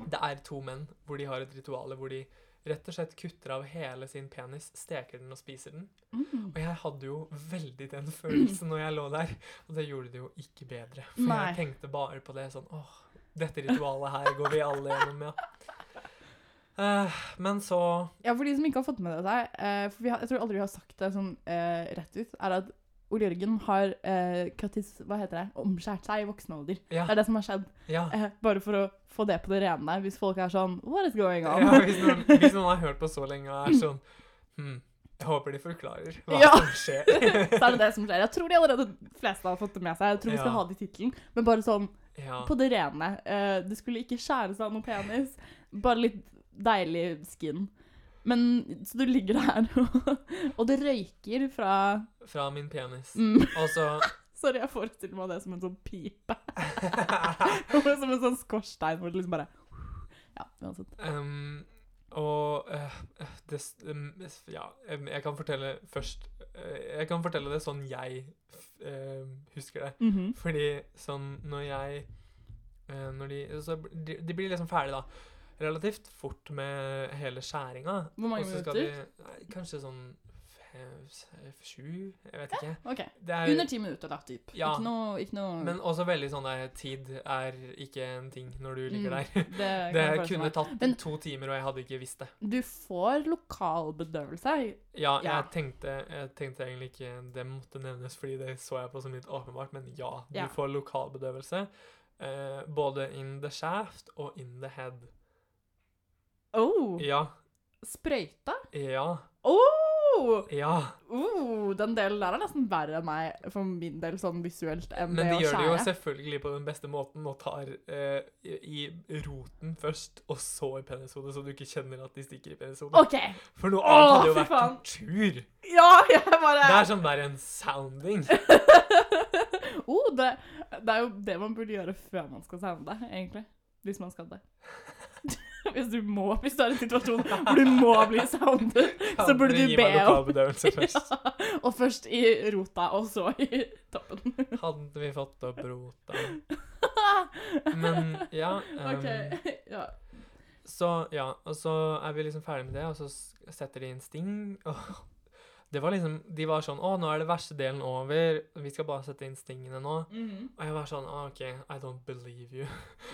Speaker 2: Det er to menn hvor de har et ritual hvor de rett og slett kutter av hele sin penis, steker den og spiser den.
Speaker 1: Mm.
Speaker 2: Og jeg hadde jo veldig den følelsen når jeg lå der, og det gjorde det jo ikke bedre. For
Speaker 1: Nei.
Speaker 2: jeg tenkte bare på det sånn åh, dette ritualet her går vi alle gjennom, ja. Eh, men så
Speaker 1: Ja, for de som ikke har fått med det seg, eh, for vi har, jeg tror aldri vi har sagt det sånn eh, rett ut, er at Ole Jørgen har eh, kattis, hva heter det, omskjært seg i voksen alder.
Speaker 2: Ja.
Speaker 1: Det er det som har skjedd.
Speaker 2: ja.
Speaker 1: Eh, bare for å få det på det rene, hvis folk er sånn What is going on?
Speaker 2: Ja, hvis, noen, hvis noen har hørt på så lenge og er sånn hm, Jeg håper de forklarer hva
Speaker 1: Ja.
Speaker 2: som skjer.
Speaker 1: så er det det som skjer. Jeg tror de allerede fleste har fått det med seg. Jeg tror vi
Speaker 2: Ja.
Speaker 1: skal ha det i tittelen. Men bare sånn
Speaker 2: Ja.
Speaker 1: på det rene. Eh, det skulle ikke skjæres av noe penis. Bare litt deilig skin. Men så du ligger der, og, og det røyker fra
Speaker 2: Fra min penis.
Speaker 1: mm,
Speaker 2: Og så
Speaker 1: Sorry, jeg forestiller meg det som en sånn pipe. som en sånn skorstein hvor det liksom bare Ja, uansett.
Speaker 2: ehm, Og eh, det, s- em, s- Ja, em, jeg kan fortelle først eh, Jeg kan fortelle det sånn jeg f- em, husker det.
Speaker 1: Mhm.
Speaker 2: Fordi sånn når jeg eh, Når de så, bl- de, de blir liksom ferdig, da. Relativt fort med hele skjæringa.
Speaker 1: Hvor mange
Speaker 2: Og så skal
Speaker 1: minutter?
Speaker 2: de- nei, kanskje sånn fem, s- sju? Jeg vet ikke.
Speaker 1: OK.
Speaker 2: Det er,
Speaker 1: Under ti minutter, da, typ.
Speaker 2: Ja.
Speaker 1: Ikke noe, ikke noe
Speaker 2: men også veldig sånn der Tid er ikke en ting når du
Speaker 1: Mm,
Speaker 2: ligger der.
Speaker 1: Det, kan
Speaker 2: Det
Speaker 1: jeg forestille
Speaker 2: kunne
Speaker 1: meg.
Speaker 2: tatt
Speaker 1: Men-
Speaker 2: to timer, og jeg hadde ikke visst det.
Speaker 1: Du får lokal bedøvelse.
Speaker 2: Ja, jeg,
Speaker 1: Ja.
Speaker 2: Tenkte, jeg tenkte egentlig ikke det måtte nevnes, fordi det så jeg på som litt åpenbart, men ja, du
Speaker 1: Ja.
Speaker 2: får lokalbedøvelse. eh, både in the shaft og in the head.
Speaker 1: Oh,
Speaker 2: Ja,
Speaker 1: sprøyta?
Speaker 2: ja,
Speaker 1: Oh!
Speaker 2: ja.
Speaker 1: oh! Den delen der er nesten verre enn meg, for min del, sånn visuelt, enn
Speaker 2: Men
Speaker 1: det
Speaker 2: de
Speaker 1: å
Speaker 2: gjør det jo
Speaker 1: skjære.
Speaker 2: selvfølgelig på den beste måten og tar eh, i i roten først, og så i penishodet, så du ikke kjenner at de stikker i penishodet.
Speaker 1: OK!
Speaker 2: For noe
Speaker 1: Åh,
Speaker 2: annet hadde jo
Speaker 1: fy
Speaker 2: vært
Speaker 1: faen.
Speaker 2: tortur.
Speaker 1: Ja, jeg bare
Speaker 2: Det er sånn bare en sounding.
Speaker 1: oh, det, det er jo det man burde gjøre før man skal sende det, egentlig. Hvis man skal det. Hvis du må, hvis du er i en situasjon hvor du må bli soundet, så burde du be om
Speaker 2: lokalbedøvelse først.
Speaker 1: ja. Og først i rota, og så i toppen.
Speaker 2: Hadde vi fått opp rota. Men ja. em,
Speaker 1: OK. Ja.
Speaker 2: Så ja, og så er vi liksom ferdig med det, og så s- setter de inn sting. Og det var liksom, De var sånn Å, nå er det verste delen over. Vi skal bare sette inn stingene nå.
Speaker 1: Mhm.
Speaker 2: Og jeg var sånn ah, OK, I don't believe you.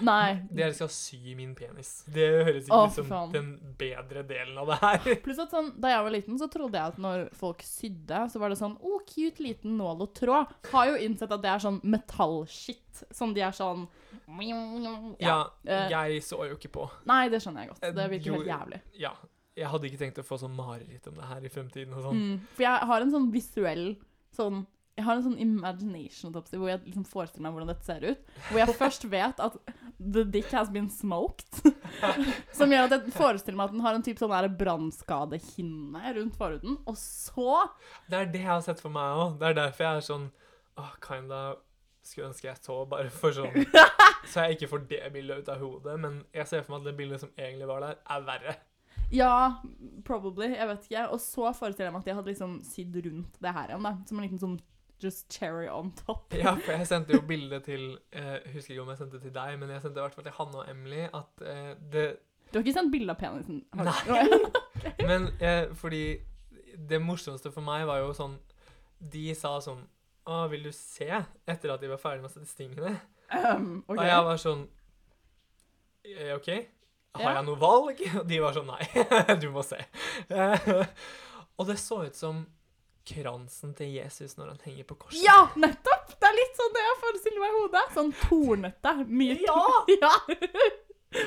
Speaker 1: Nei.
Speaker 2: Dere skal sy min penis. Det høres ikke
Speaker 1: Å,
Speaker 2: ut
Speaker 1: for
Speaker 2: som
Speaker 1: faen.
Speaker 2: den bedre delen av det her.
Speaker 1: Pluss at sånn, Da jeg var liten, så trodde jeg at når folk sydde, så var det sånn Å, cute liten nål og tråd. Har jo innsett at det er sånn metallskitt. Som de er sånn
Speaker 2: Ja,
Speaker 1: eh.
Speaker 2: jeg så jo ikke på.
Speaker 1: Nei, det skjønner jeg godt.
Speaker 2: Eh,
Speaker 1: Det virker
Speaker 2: jo-
Speaker 1: helt jævlig.
Speaker 2: Ja. Jeg hadde ikke tenkt å få sånn mareritt om det her i fremtiden og sånn.
Speaker 1: Mm, for jeg har en sånn visuell sånn, Jeg har en sånn imagination autopsy hvor jeg liksom forestiller meg hvordan dette ser ut. Hvor jeg først vet at the dick has been smoked. som gjør at jeg forestiller meg at den har en type sånn der brannskadehinne rundt forhuden. Og så
Speaker 2: Det er det jeg har sett for meg òg. Det er derfor jeg er sånn åh, kinda skulle ønske jeg så, bare for sånn Så jeg ikke får det bildet ut av hodet. Men jeg ser for meg at det bildet som egentlig var der, er verre.
Speaker 1: Ja, probably. Jeg vet ikke. Og så forestiller jeg meg at jeg hadde liksom sydd rundt det her igjen, da. Som en liten sånn just cherry on top.
Speaker 2: Ja, for jeg sendte jo bilde til eh, Husker ikke om jeg sendte til deg, men jeg sendte i hvert fall til Hanne og Emily at eh, det
Speaker 1: Du har ikke sendt bilde av penisen? har du?
Speaker 2: Men eh, fordi det morsomste for meg var jo sånn De sa sånn Å, vil du se? Etter at de var ferdig med å sette stingene.
Speaker 1: Um, ok.
Speaker 2: Og jeg var sånn «Eh, OK, har
Speaker 1: Ja.
Speaker 2: jeg noe valg? Og de var sånn Nei, du må se. Eh, Og det så ut som kransen til Jesus når han henger på korset.
Speaker 1: Ja, nettopp! Det er litt sånn det jeg forestiller meg i hodet. Sånn tornete. Mye
Speaker 2: Ja!
Speaker 1: ja.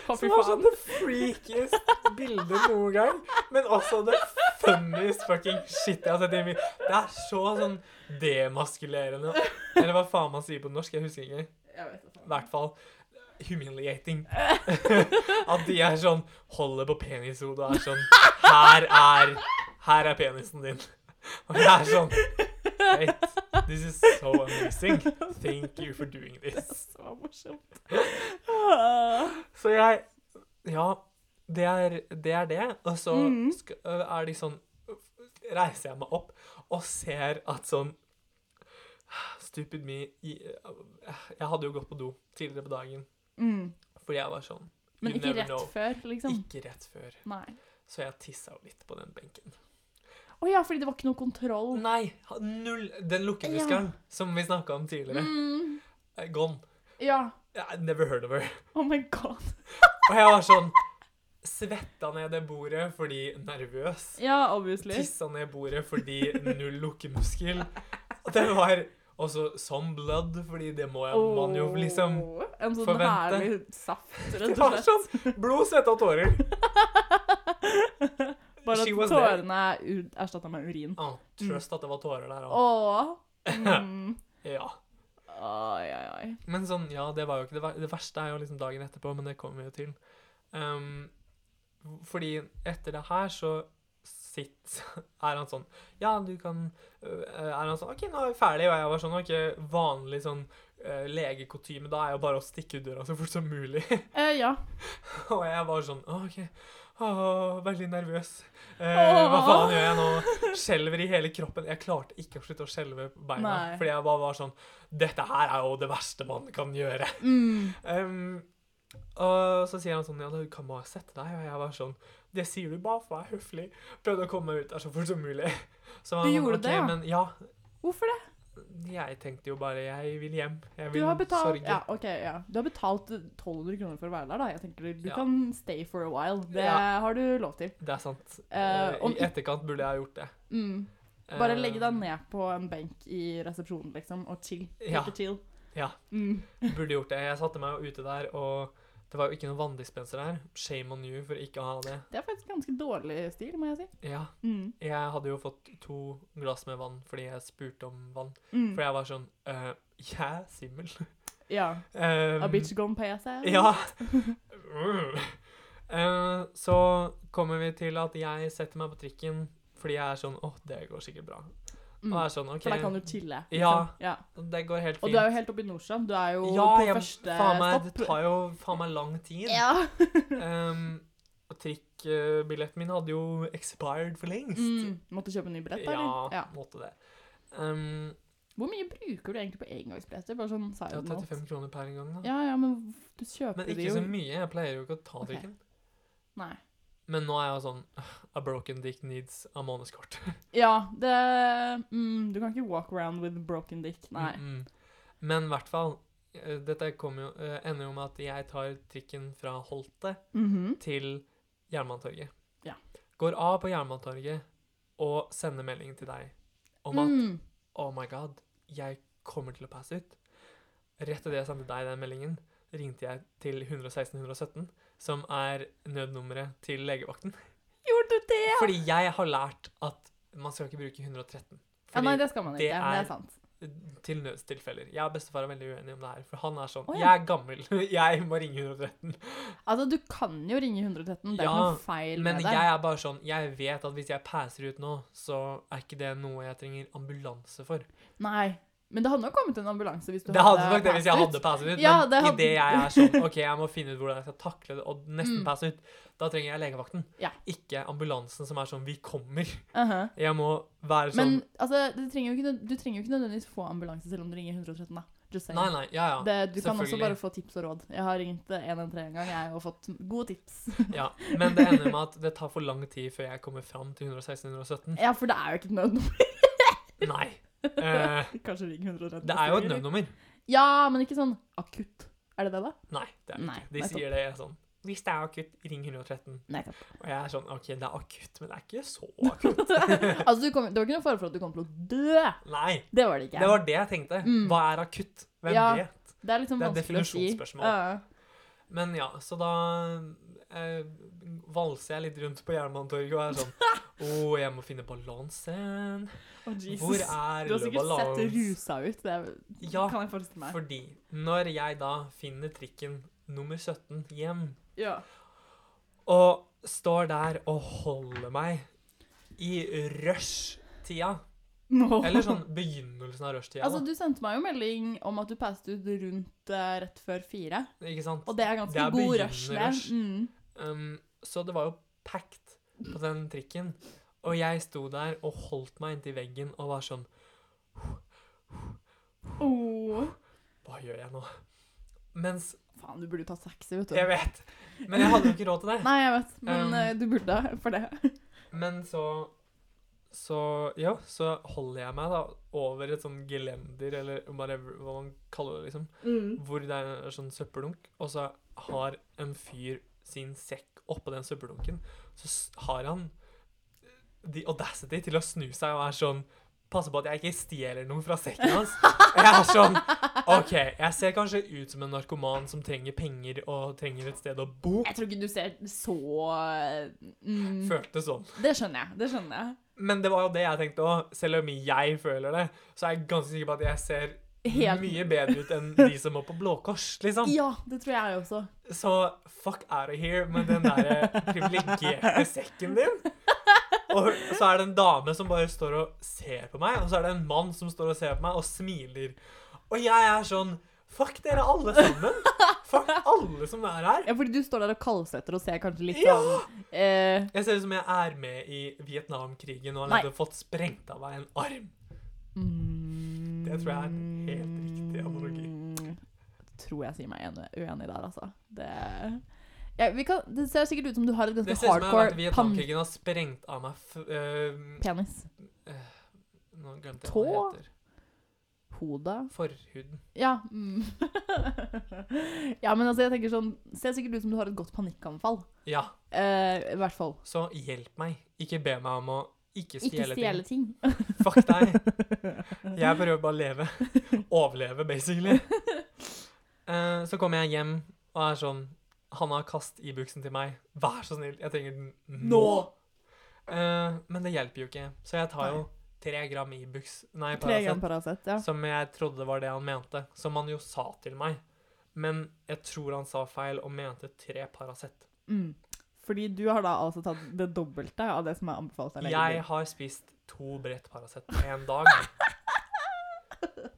Speaker 1: Å, fy
Speaker 2: Som var
Speaker 1: faen.
Speaker 2: sånn det freakest bildet noen gang, men også det funniest fucking shit jeg har sett i mitt Det er så sånn demaskulerende. Eller hva faen man sier på norsk, jeg husker ikke.
Speaker 1: Jeg vet det.
Speaker 2: I hvert fall humiliating. At de er sånn Holder på penishodet og er sånn Her er Her er penisen din. Og jeg er sånn Wait, this is so amazing. Thank you for doing this.
Speaker 1: Det var morsomt. Ah.
Speaker 2: Så jeg Ja, det er det. Er det. Og så
Speaker 1: Mhm.
Speaker 2: sk- øh, er de sånn Reiser jeg meg opp og ser at sånn Stupid me i- Jeg hadde jo gått på do tidligere på dagen
Speaker 1: Mm.
Speaker 2: fordi jeg var sånn
Speaker 1: Men
Speaker 2: You
Speaker 1: ikke
Speaker 2: never
Speaker 1: rett
Speaker 2: know.
Speaker 1: før, liksom?
Speaker 2: Ikke rett før.
Speaker 1: Nei.
Speaker 2: Så jeg tissa jo litt på den benken.
Speaker 1: Å ja, fordi det var ikke noe kontroll.
Speaker 2: Nei! ha- Null! Den lukkemuskelen som vi snakka om tidligere.
Speaker 1: Mm.
Speaker 2: er Gone.
Speaker 1: Ja.
Speaker 2: I never heard of her.
Speaker 1: Oh my god.
Speaker 2: Og jeg var sånn Svetta ned det bordet fordi nervøs.
Speaker 1: Ja, obviously.
Speaker 2: Tissa ned bordet fordi null lukkemuskel. Og det var også some blood, fordi det må jeg, man jo liksom
Speaker 1: Åh, En sånn
Speaker 2: forvente.
Speaker 1: herlig saft,
Speaker 2: Det
Speaker 1: rett og
Speaker 2: var
Speaker 1: slett.
Speaker 2: sånn blod, svette og tårer.
Speaker 1: Bare
Speaker 2: She
Speaker 1: at
Speaker 2: was there.
Speaker 1: tårene er erstatta med urin.
Speaker 2: Å, Ah, trøst at det var tårer der òg.
Speaker 1: Åh. Mm.
Speaker 2: Ja.
Speaker 1: Oi, oi, oi.
Speaker 2: Men sånn, ja, det var jo ikke det, ver- det verste er jo liksom dagen etterpå, men det kommer vi jo til. Ehm, fordi etter det her så sitt, er han sånn Ja, du kan øh, Er han sånn OK, nå er vi ferdig, og jeg var sånn OK, vanlig sånn øh, legekutyme, da er jo bare å stikke ut døra så fort som mulig.
Speaker 1: Eh, ja.
Speaker 2: Og jeg var sånn «Å, OK. Åh, veldig nervøs. Eh,
Speaker 1: Åh.
Speaker 2: hva faen gjør jeg nå? Skjelver i hele kroppen. Jeg klarte ikke å slutte å skjelve på beina.
Speaker 1: Nei.
Speaker 2: Fordi jeg bare var sånn Dette her er jo det verste man kan gjøre.
Speaker 1: Mm.
Speaker 2: Em, og så sier han sånn Ja, du kan bare sette deg. Og jeg var sånn Det sier du bare for å være høflig. Prøvde å komme meg ut der så fort som mulig. Så han
Speaker 1: Du
Speaker 2: var sånn,
Speaker 1: gjorde
Speaker 2: «Ok,
Speaker 1: det, ja?»
Speaker 2: Men ja.
Speaker 1: Hvorfor det?
Speaker 2: Jeg tenkte jo bare Jeg vil hjem. Jeg
Speaker 1: Du
Speaker 2: vil
Speaker 1: har betalt
Speaker 2: sorge.
Speaker 1: ja, ok, ja. Du har betalt 1200 kroner for å være der, da. Jeg tenker Du
Speaker 2: Ja.
Speaker 1: kan stay for a while. Det
Speaker 2: Ja.
Speaker 1: har du lov til.
Speaker 2: Det er sant.
Speaker 1: Eh,
Speaker 2: Eh,
Speaker 1: om
Speaker 2: I etterkant burde jeg ha gjort det.
Speaker 1: Mm. Bare
Speaker 2: Eh,
Speaker 1: legg deg ned på en benk i resepsjonen, liksom, og chill. Take
Speaker 2: Ja.
Speaker 1: a chill.
Speaker 2: Ja.
Speaker 1: Mm.
Speaker 2: Burde gjort det. Jeg satte meg jo ute der, og det var jo ikke noen vanndispenser der. Shame on you for ikke å ha det.
Speaker 1: Det er faktisk ganske dårlig stil, må jeg si.
Speaker 2: Ja,
Speaker 1: Mm.
Speaker 2: jeg hadde jo fått to glass med vann fordi jeg spurte om vann.
Speaker 1: Mm.
Speaker 2: For jeg var sånn eh, Jeg er svimmel.
Speaker 1: Ja.
Speaker 2: Um,
Speaker 1: A bitch gone pay seg.
Speaker 2: Ja. Eh, så kommer vi til at jeg setter meg på trikken fordi jeg er sånn Å, det går sikkert bra.
Speaker 1: Mm.
Speaker 2: Og jeg er sånn OK,
Speaker 1: For der kan du chille. liksom.
Speaker 2: Ja.
Speaker 1: ja.
Speaker 2: det går helt
Speaker 1: Og
Speaker 2: fint.
Speaker 1: du er jo helt oppe i Nordstrand. Du er jo
Speaker 2: ja,
Speaker 1: på
Speaker 2: jeg,
Speaker 1: første
Speaker 2: faen meg,
Speaker 1: stopp.
Speaker 2: det tar jo faen meg lang tid.
Speaker 1: Ja.
Speaker 2: Um, og trikkbilletten min hadde jo expired for lengst.
Speaker 1: Mm. Måtte kjøpe en ny billett, da,
Speaker 2: ja,
Speaker 1: eller? Ja.
Speaker 2: måtte det. Um,
Speaker 1: Hvor mye bruker du egentlig på engangsbilletter? Bare sånn
Speaker 2: ja,
Speaker 1: side note.
Speaker 2: 35 kroner per gang, da.
Speaker 1: Ja, ja, men du kjøper
Speaker 2: Men
Speaker 1: det
Speaker 2: ikke
Speaker 1: jo
Speaker 2: så mye. Jeg pleier jo ikke å ta
Speaker 1: Ok.
Speaker 2: trikken.
Speaker 1: Nei.
Speaker 2: Men nå er jeg jo sånn A broken dick needs a månedskort.
Speaker 1: Ja, det mm, Du kan ikke walk around with broken dick. Nei.
Speaker 2: Mm, mm. Men i hvert fall eh, Dette kommer jo, eh, ender jo med at jeg tar trikken fra Holte
Speaker 1: Mhm.
Speaker 2: til Jernbanetorget.
Speaker 1: Ja.
Speaker 2: Går av på Jernbanetorget og sender melding til deg om at
Speaker 1: Mm.
Speaker 2: Oh my god, jeg kommer til å passe ut. Rett til det jeg sendte deg den meldingen, ringte jeg til 116 117, som er nødnummeret til legevakten.
Speaker 1: Gjorde du det?!
Speaker 2: Fordi jeg har lært at man skal ikke bruke 113.
Speaker 1: Ja,
Speaker 2: Fordi
Speaker 1: nei, det skal man ikke.
Speaker 2: det
Speaker 1: Det er, det
Speaker 2: er-
Speaker 1: er sant.
Speaker 2: Til nødstilfeller. Jeg og bestefar er veldig uenige om det her. For han er sånn
Speaker 1: Å, ja.
Speaker 2: Jeg er gammel. Jeg må ringe 113.
Speaker 1: Altså, du kan jo ringe 113, det er ikke
Speaker 2: Ja,
Speaker 1: noe feil
Speaker 2: Men
Speaker 1: med det.
Speaker 2: jeg er bare sånn Jeg vet at hvis jeg passer ut nå, så er ikke det noe jeg trenger ambulanse for.
Speaker 1: Nei. Men det hadde nok kommet en ambulanse hvis du
Speaker 2: det hadde nok det hvis jeg
Speaker 1: passet.
Speaker 2: hadde passet ut,
Speaker 1: Ja, det
Speaker 2: men
Speaker 1: hadde-
Speaker 2: idet jeg er sånn OK, jeg må finne ut hvordan jeg skal takle det og nesten
Speaker 1: Mm.
Speaker 2: passe ut, da trenger jeg legevakten.
Speaker 1: Ja.
Speaker 2: Ikke ambulansen som er sånn Vi kommer.
Speaker 1: Aha.
Speaker 2: Jeg må være sånn
Speaker 1: Uh-huh. Men altså, du trenger, jo ikke, nød- du trenger jo ikke nødvendigvis få ambulanse selv om du ringer 113, da. Just saying.
Speaker 2: Nei, nei. Ja, ja.
Speaker 1: det, du kan også
Speaker 2: selvfølgelig.
Speaker 1: bare få tips og råd. Jeg har ringt eh, 113 en gang, jeg, og fått gode tips.
Speaker 2: ja. Men det ender med at det tar for lang tid før jeg kommer fram til 116-117.
Speaker 1: Ja, for det er jo ikke et nødnummer.
Speaker 2: Nei. Eh,
Speaker 1: Kanskje ring 113.
Speaker 2: det er jo et
Speaker 1: neste gang.
Speaker 2: nødnummer.
Speaker 1: Ja, men ikke sånn akutt. Er det det, da?
Speaker 2: Nei, det er det
Speaker 1: Nei,
Speaker 2: ikke. De
Speaker 1: nettopp.
Speaker 2: sier det sånn Hvis det er akutt, ring 113.
Speaker 1: Nei takk.
Speaker 2: Og jeg er sånn OK, det er akutt, men det er ikke så akutt.
Speaker 1: altså, du kom, det var ikke noe fare for at du kom til å dø.
Speaker 2: Nei.
Speaker 1: Det var det ikke.
Speaker 2: Det var det jeg tenkte.
Speaker 1: Mm.
Speaker 2: Hva er akutt? Hvem
Speaker 1: Ja.
Speaker 2: vet?
Speaker 1: Det er liksom
Speaker 2: Det er et
Speaker 1: vanskelig å si.
Speaker 2: definisjonsspørsmål.
Speaker 1: Ja.
Speaker 2: Men ja, så da eh, valser jeg litt rundt på Jernbanetorget og er sånn Å, jeg må finne balansen.
Speaker 1: Å, Jesus.
Speaker 2: Hvor er
Speaker 1: du har sikkert sett det
Speaker 2: balansen?
Speaker 1: rusa ut. Det er,
Speaker 2: Ja,
Speaker 1: kan jeg forestille meg.
Speaker 2: Fordi når jeg da finner trikken nummer 17 hjem,
Speaker 1: Ja.
Speaker 2: og står der og holder meg i rush-tida,
Speaker 1: Nå.
Speaker 2: eller sånn begynnelsen av rush-tida,
Speaker 1: Altså, du sendte meg jo melding om at du passet ut rundt eh, rett før fire.
Speaker 2: da, ikke sant?
Speaker 1: Og det er ganske
Speaker 2: Det er
Speaker 1: god rush, det.
Speaker 2: begynnerrush.
Speaker 1: Mm.
Speaker 2: Um, så det var jo packed på den trikken, og jeg sto der og holdt meg inntil veggen og var sånn
Speaker 1: Åh.
Speaker 2: Hva gjør jeg nå? Mens
Speaker 1: Faen, du burde jo tatt taxi, vet du.
Speaker 2: Jeg vet. Men jeg hadde jo ikke råd til det.
Speaker 1: Nei, jeg vet, men
Speaker 2: Um.
Speaker 1: eh, du burde for det.
Speaker 2: Men så Så ja, så holder jeg meg da over et sånn gelender, eller whatever, hva man kaller det, liksom, hvor det er sånn søppeldunk, og så har en fyr sin sekk oppå den søppeldunken, så s- har han the audacity til å snu seg og er sånn Passe på at jeg ikke stjeler noe fra sekken hans. Og jeg er sånn OK, jeg ser kanskje ut som en narkoman som trenger penger og trenger et sted å bo.
Speaker 1: Jeg tror ikke du ser så mm,
Speaker 2: Føltes sånn.
Speaker 1: Det skjønner jeg. Det skjønner jeg.
Speaker 2: Men det var jo det jeg tenkte òg. Selv om jeg føler det, så er jeg ganske sikker på at jeg ser
Speaker 1: Helt-
Speaker 2: mye bedre ut enn de som må på Blå Kors, liksom.
Speaker 1: Ja, det tror jeg også.
Speaker 2: Så fuck out of here med den der privilegerte sekken din. Og så er det en dame som bare står og ser på meg, og så er det en mann som står og ser på meg og smiler. Og jeg er sånn Fuck dere alle sammen. Fuck alle som er her.
Speaker 1: Ja, fordi du står der og kaldsetter og ser kanskje litt
Speaker 2: Ja!
Speaker 1: sånn eh,
Speaker 2: Jeg ser ut som jeg er med i Vietnamkrigen og har
Speaker 1: Nei.
Speaker 2: nettopp fått sprengt av meg en arm.
Speaker 1: mm,
Speaker 2: Det tror jeg er en helt riktig analogi.
Speaker 1: Tror jeg sier meg enig- uenig der, altså. Det ja, vi kan, Det ser sikkert ut som du har et
Speaker 2: Det
Speaker 1: ganske
Speaker 2: ser ut som jeg har vært i
Speaker 1: hardcore pan
Speaker 2: Vietnamkrigen har sprengt av meg f øh,
Speaker 1: penis.
Speaker 2: Nå glemte jeg hva det
Speaker 1: Tå?
Speaker 2: heter.
Speaker 1: Hodet.
Speaker 2: Forhuden.
Speaker 1: Ja. Mm. ja, men altså, jeg tenker sånn Ser sikkert ut som du har et godt panikkanfall.
Speaker 2: Ja,
Speaker 1: Eh, I hvert fall.
Speaker 2: så hjelp meg. Ikke be meg om å ikke
Speaker 1: Ikke
Speaker 2: stjele
Speaker 1: stjele
Speaker 2: ting.
Speaker 1: ting.
Speaker 2: Fuck deg. Jeg prøver bare å leve. Overleve, basically. Eh, så kommer jeg hjem og er sånn Hanna, kast Ibux-en til meg. Vær så snill. Jeg trenger den nå. Eh, men det hjelper jo ikke. Så jeg tar jo tre gram Ibux. Nei,
Speaker 1: Tre
Speaker 2: Paracet.
Speaker 1: gram Paracet, ja.
Speaker 2: som jeg trodde var det han mente, som han jo sa til meg. Men jeg tror han sa feil og mente tre Paracet.
Speaker 1: Mm. Fordi du har da altså tatt det dobbelte av det som er anbefalt av
Speaker 2: Jeg
Speaker 1: legen.
Speaker 2: har spist to brett Paracet på én dag.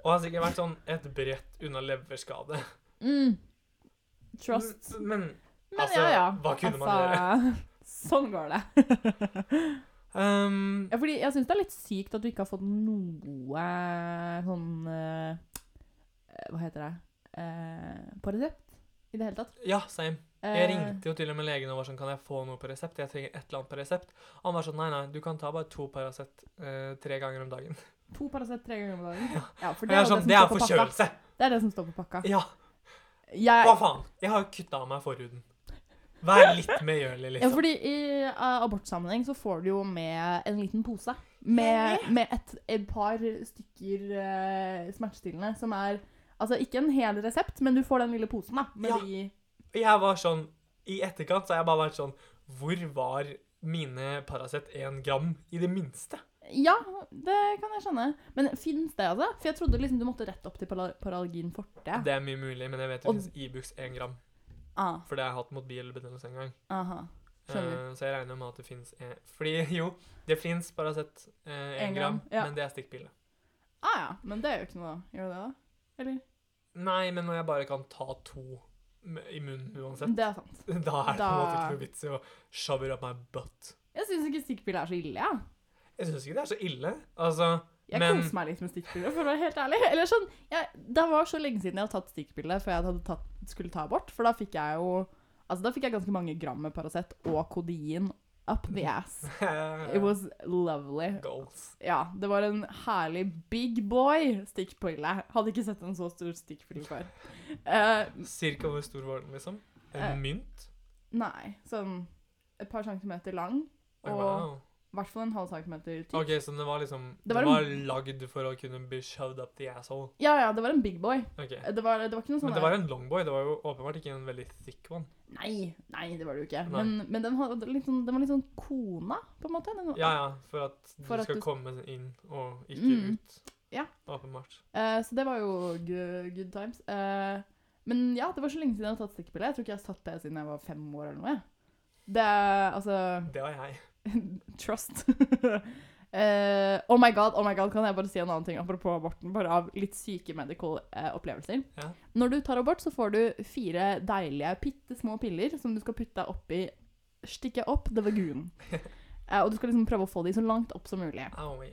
Speaker 2: Og har sikkert vært sånn et brett unna leverskade.
Speaker 1: Mm. Trust.
Speaker 2: Men,
Speaker 1: Men
Speaker 2: altså,
Speaker 1: ja, ja.
Speaker 2: hva kunne man
Speaker 1: gjøre? Sånn går det.
Speaker 2: ehm,
Speaker 1: Ja, fordi jeg syns det er litt sykt at du ikke har fått noe sånn eh, Hva heter det? Eh, på resept i det hele tatt.
Speaker 2: ja, same. Jeg
Speaker 1: Eh,
Speaker 2: ringte jo til og med legen og var sånn Kan jeg få noe på resept? Jeg trenger et eller annet på resept. Han var sånn Nei, nei, du kan ta bare to Paracet eh, tre ganger om dagen.
Speaker 1: To Paracet tre ganger om dagen.
Speaker 2: Ja.
Speaker 1: Ja, for
Speaker 2: Og jeg er
Speaker 1: jo
Speaker 2: sånn
Speaker 1: som
Speaker 2: Det er
Speaker 1: står på pakka.
Speaker 2: forkjølelse!
Speaker 1: Det er det som står på pakka.
Speaker 2: Ja. Hva
Speaker 1: Jeg,
Speaker 2: faen? Jeg har jo kutta av meg forhuden. Vær litt medgjørlig,
Speaker 1: ja,
Speaker 2: liksom.
Speaker 1: fordi i eh, abortsammenheng så får du jo med en liten pose. Med, med et, et par stykker eh, smertestillende som er Altså ikke en hel resept, men du får den lille posen, da. Med
Speaker 2: Ja.
Speaker 1: de
Speaker 2: Jeg var sånn I etterkant så har jeg bare vært sånn Hvor var mine Paracet 1 gram, i det minste.
Speaker 1: Ja, det kan jeg skjønne. Men fins det, altså? For jeg trodde liksom du måtte rett opp til para- Paralgin forte.
Speaker 2: Det er mye mulig, men jeg vet
Speaker 1: Og-
Speaker 2: det finnes Ibux 1 gram.
Speaker 1: Ah,
Speaker 2: For det har jeg hatt mot bilbetennelse en gang.
Speaker 1: aha. Skjønner.
Speaker 2: Eh, så jeg regner med at det fins en Fordi jo, det fins Paracet 1
Speaker 1: En
Speaker 2: gram,
Speaker 1: gram, ja.
Speaker 2: men det er stikkpille.
Speaker 1: Ah ja, men det er jo ikke noe, da. Gjør det det, da? Eller?
Speaker 2: Nei, men når jeg bare kan ta to m- i munnen uansett,
Speaker 1: Det er sant.
Speaker 2: da
Speaker 1: Mm.
Speaker 2: er det på en
Speaker 1: Da-
Speaker 2: måte ikke noe vits i å shove it up my butt.
Speaker 1: Jeg syns ikke stikkpiller er så ille, jeg.
Speaker 2: Jeg syns ikke det er så ille. Altså
Speaker 1: Jeg
Speaker 2: Men-
Speaker 1: koser meg litt med stikkpiller, for å være helt ærlig. Eller sånn, jeg, det var så lenge siden jeg hadde tatt stikkpiller før jeg hadde tatt, skulle ta abort, for da fikk jeg jo Altså, da fikk jeg ganske mange gram med Paracet og kodein up the ass. It was lovely.
Speaker 2: eh, Goals.
Speaker 1: Ja, det var en herlig big boy stikkpille. Hadde ikke sett en så stor stikkpille før. Eh,
Speaker 2: Cirka hvor stor var den, liksom? En
Speaker 1: Eh,
Speaker 2: mynt?
Speaker 1: nei, sånn et par centimeter lang.
Speaker 2: Oi,
Speaker 1: og-
Speaker 2: wow.
Speaker 1: I hvert fall en halv centimeter tykk.
Speaker 2: OK, så den var liksom
Speaker 1: Det var
Speaker 2: Den var
Speaker 1: en-
Speaker 2: lagd for å kunne bli shoved up the asshole.
Speaker 1: Ja, ja, det var en big boy.
Speaker 2: OK.
Speaker 1: Eh, Det var, det var ikke noe sånn
Speaker 2: Men det var en longboy. Det var jo åpenbart ikke en veldig thick one.
Speaker 1: Nei, nei, det var det jo ikke.
Speaker 2: Nei.
Speaker 1: Men, men den, hadde litt sånn, den var litt sånn kona, på en måte. Den,
Speaker 2: Ja, ja, for at
Speaker 1: For
Speaker 2: du
Speaker 1: at
Speaker 2: skal
Speaker 1: du-
Speaker 2: komme inn og ikke
Speaker 1: Mm.
Speaker 2: ut.
Speaker 1: Ja.
Speaker 2: Åpenbart.
Speaker 1: Eh, så det var jo good, good times. Eh, men ja, det var så lenge siden jeg hadde tatt stikkpille. Jeg tror ikke jeg har tatt det siden jeg var fem år eller noe. jeg. Det er, altså
Speaker 2: Det var jeg.
Speaker 1: Trust. Eh, oh my god, oh my god, kan jeg bare si en annen ting apropos aborten? Bare av litt syke medical eh, opplevelser.
Speaker 2: Ja.
Speaker 1: Når du tar abort, så får du fire deilige, bitte små piller som du skal putte oppi Stikke opp the vagoon. Eh, og du skal liksom prøve å få de så langt opp som mulig.
Speaker 2: Aoi.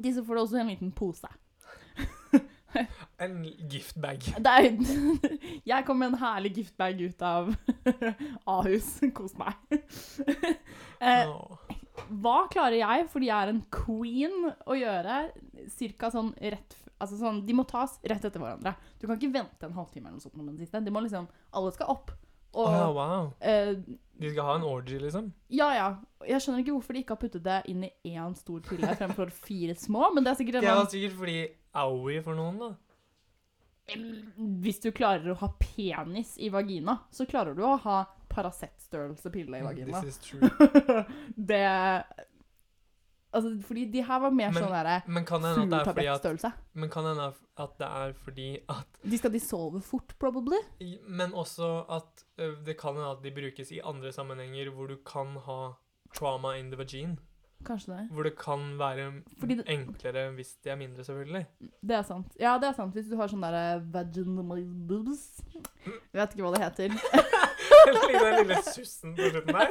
Speaker 1: Disse får du også i en liten pose.
Speaker 2: En giftbag.
Speaker 1: Det er, jeg kom med en herlig giftbag ut av Ahus. Kos meg. Eh,
Speaker 2: Åh.
Speaker 1: Hva klarer jeg, fordi jeg er en queen, å gjøre cirka sånn rett f- Altså sånn, De må tas rett etter hverandre. Du kan ikke vente en halvtime eller noe sånt. med den siste. De må liksom, Alle skal opp. Og
Speaker 2: Åh, Ah, wow.
Speaker 1: eh,
Speaker 2: De skal ha en orgy, liksom?
Speaker 1: Ja ja. Jeg skjønner ikke hvorfor de ikke har puttet det inn i én stor pille fremfor fire små, men det er sikkert en
Speaker 2: Det altså- var
Speaker 1: annen-
Speaker 2: sikkert fordi Aoi for noen, da.
Speaker 1: Hvis du klarer å ha penis i vagina, så klarer du å ha Paracet-størrelse-pille i vagina.
Speaker 2: This is true.
Speaker 1: det Altså, fordi de her var mer
Speaker 2: Men-
Speaker 1: sånn derre
Speaker 2: Men kan det hende at det er fordi at,
Speaker 1: fluetablett-størrelse.
Speaker 2: men kan det hende at det er fordi at
Speaker 1: De skal dissolve fort, probably.
Speaker 2: Men også at ø, det kan hende at de brukes i andre sammenhenger hvor du kan ha trauma in the vagine.
Speaker 1: Kanskje det.
Speaker 2: Hvor det kan være
Speaker 1: Fordi det-
Speaker 2: enklere hvis de er mindre, selvfølgelig.
Speaker 1: Det er sant. Ja, det er sant. Hvis du har sånn derre vaginal boobs Jeg vet ikke hva det heter.
Speaker 2: Lille, den lille sussen på slutten der.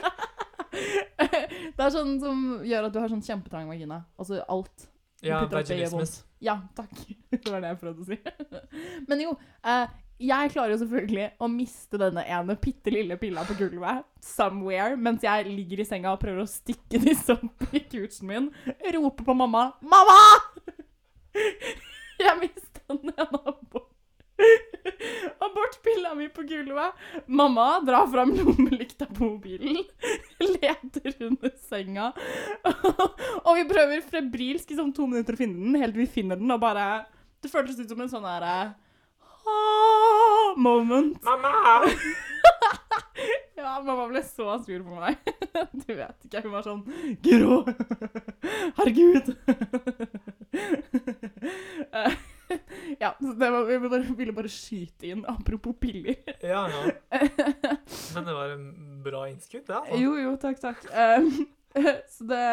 Speaker 1: det er sånn som gjør at du har sånn kjempetrang vagina. Altså alt. Du
Speaker 2: Ja,
Speaker 1: putter opp, det gjør
Speaker 2: vaginismus.
Speaker 1: Ja, takk. Det var det jeg prøvde å si. Men jo, eh, jeg klarer jo selvfølgelig å miste denne ene bitte lille pilla på gulvet somewhere, mens jeg ligger i senga og prøver å stikke disse opp i couchen min, roper på mamma 'Mamma!' Jeg mista den ene abort. Abortpilla mi på gulvet. Mamma drar fram lommelykta på mobilen, leter under senga, og vi prøver febrilsk i sånn to minutter å finne den, helt til vi finner den, og bare Det føltes ut som en sånn derre «Ah» moment.
Speaker 2: Mamma!
Speaker 1: Ja, mamma ble så sur på meg. Du vet ikke. Hun var sånn Grå! Herregud! Eh, Ja, så det var, vi bare, ville bare skyte inn apropos piller.
Speaker 2: Ja, ja. Men det var en bra innskudd, det. altså.
Speaker 1: Jo, jo, takk, takk. Eh, så det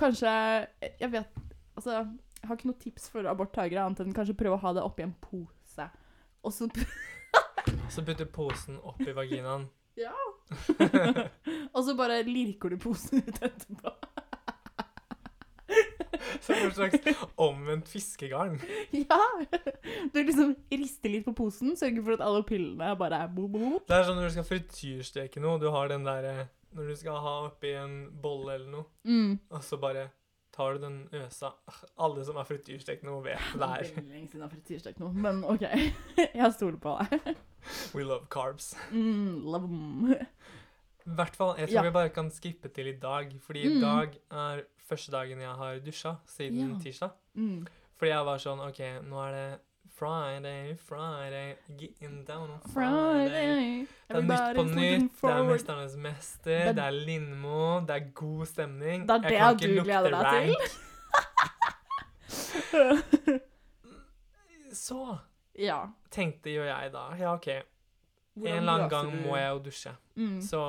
Speaker 1: Kanskje Jeg vet Altså, jeg har ikke noe tips for aborttagere annet enn kanskje prøve å ha det oppi en pose. Og så
Speaker 2: Så putter posen oppi vaginaen.
Speaker 1: Ja. og så bare lirker du posen ut etterpå.
Speaker 2: Som en slags omvendt fiskegarn.
Speaker 1: ja! Du liksom rister litt på posen, sørger for at alle pillene bare er bo, bo, bo.
Speaker 2: Det er sånn når du skal frityrsteke noe, du har den der eh, Når du skal ha oppi en bolle eller noe,
Speaker 1: Mm.
Speaker 2: og så bare tar du den øsa Alle som er frityrstekende, må vite det her.
Speaker 1: Veldig lenge siden jeg har frityrstekt noe, men OK. jeg stoler på deg.
Speaker 2: We love carbs.
Speaker 1: Mm, love.
Speaker 2: I hvert fall, jeg tror
Speaker 1: Ja.
Speaker 2: vi bare kan skippe til i dag, fordi i
Speaker 1: Mm.
Speaker 2: dag er første dagen jeg har dusja siden
Speaker 1: Ja.
Speaker 2: tirsdag.
Speaker 1: Mm.
Speaker 2: Fordi jeg var sånn OK, nå er det Friday, Friday, getting down on Friday.
Speaker 1: Friday.
Speaker 2: Det er Nytt på
Speaker 1: Everybody's looking
Speaker 2: Nytt, det er
Speaker 1: forward.
Speaker 2: Mesternes mester,
Speaker 1: Det-
Speaker 2: det er Lindmo, det er god stemning.
Speaker 1: Det er
Speaker 2: Jeg
Speaker 1: det
Speaker 2: kan ikke
Speaker 1: du
Speaker 2: lukte
Speaker 1: gleder deg til.
Speaker 2: rank. Så
Speaker 1: ja.
Speaker 2: tenkte jo jeg da, ja ok, en
Speaker 1: Hvordan
Speaker 2: eller annen
Speaker 1: løser
Speaker 2: gang
Speaker 1: du-
Speaker 2: må jeg jo dusje.
Speaker 1: mm.
Speaker 2: Så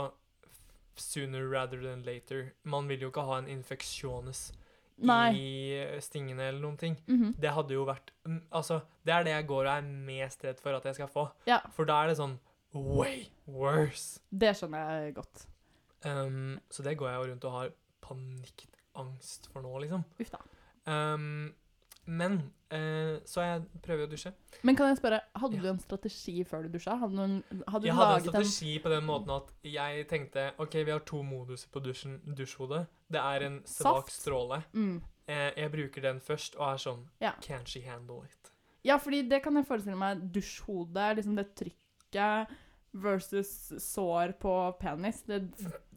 Speaker 2: sooner rather than later. Man vil jo ikke ha en infeksjones
Speaker 1: Nei.
Speaker 2: i eh, stingene eller noen ting.
Speaker 1: Mhm.
Speaker 2: Det hadde jo vært mm, Altså, det er det jeg går og er mest redd for at jeg skal få.
Speaker 1: Ja.
Speaker 2: For da er det sånn way worse.
Speaker 1: Det skjønner jeg godt.
Speaker 2: Um, så det går jeg jo rundt og har panikkangst for nå, liksom.
Speaker 1: Uff da.
Speaker 2: Um, men eh, så jeg prøver å dusje.
Speaker 1: Men kan jeg spørre, hadde
Speaker 2: Ja.
Speaker 1: du en strategi før du dusja? Hadde du, en, hadde du
Speaker 2: Jeg hadde en
Speaker 1: laget en
Speaker 2: strategi på den måten at jeg tenkte OK, vi har to moduser på dusjen, dusjhodet. Det er en svak
Speaker 1: Saft.
Speaker 2: stråle.
Speaker 1: mm.
Speaker 2: Eh, jeg bruker den først og er sånn
Speaker 1: Ja.
Speaker 2: Can she handle it?
Speaker 1: Ja, fordi det kan jeg forestille meg. Dusjhodet er liksom det trykket versus sår på penis. Det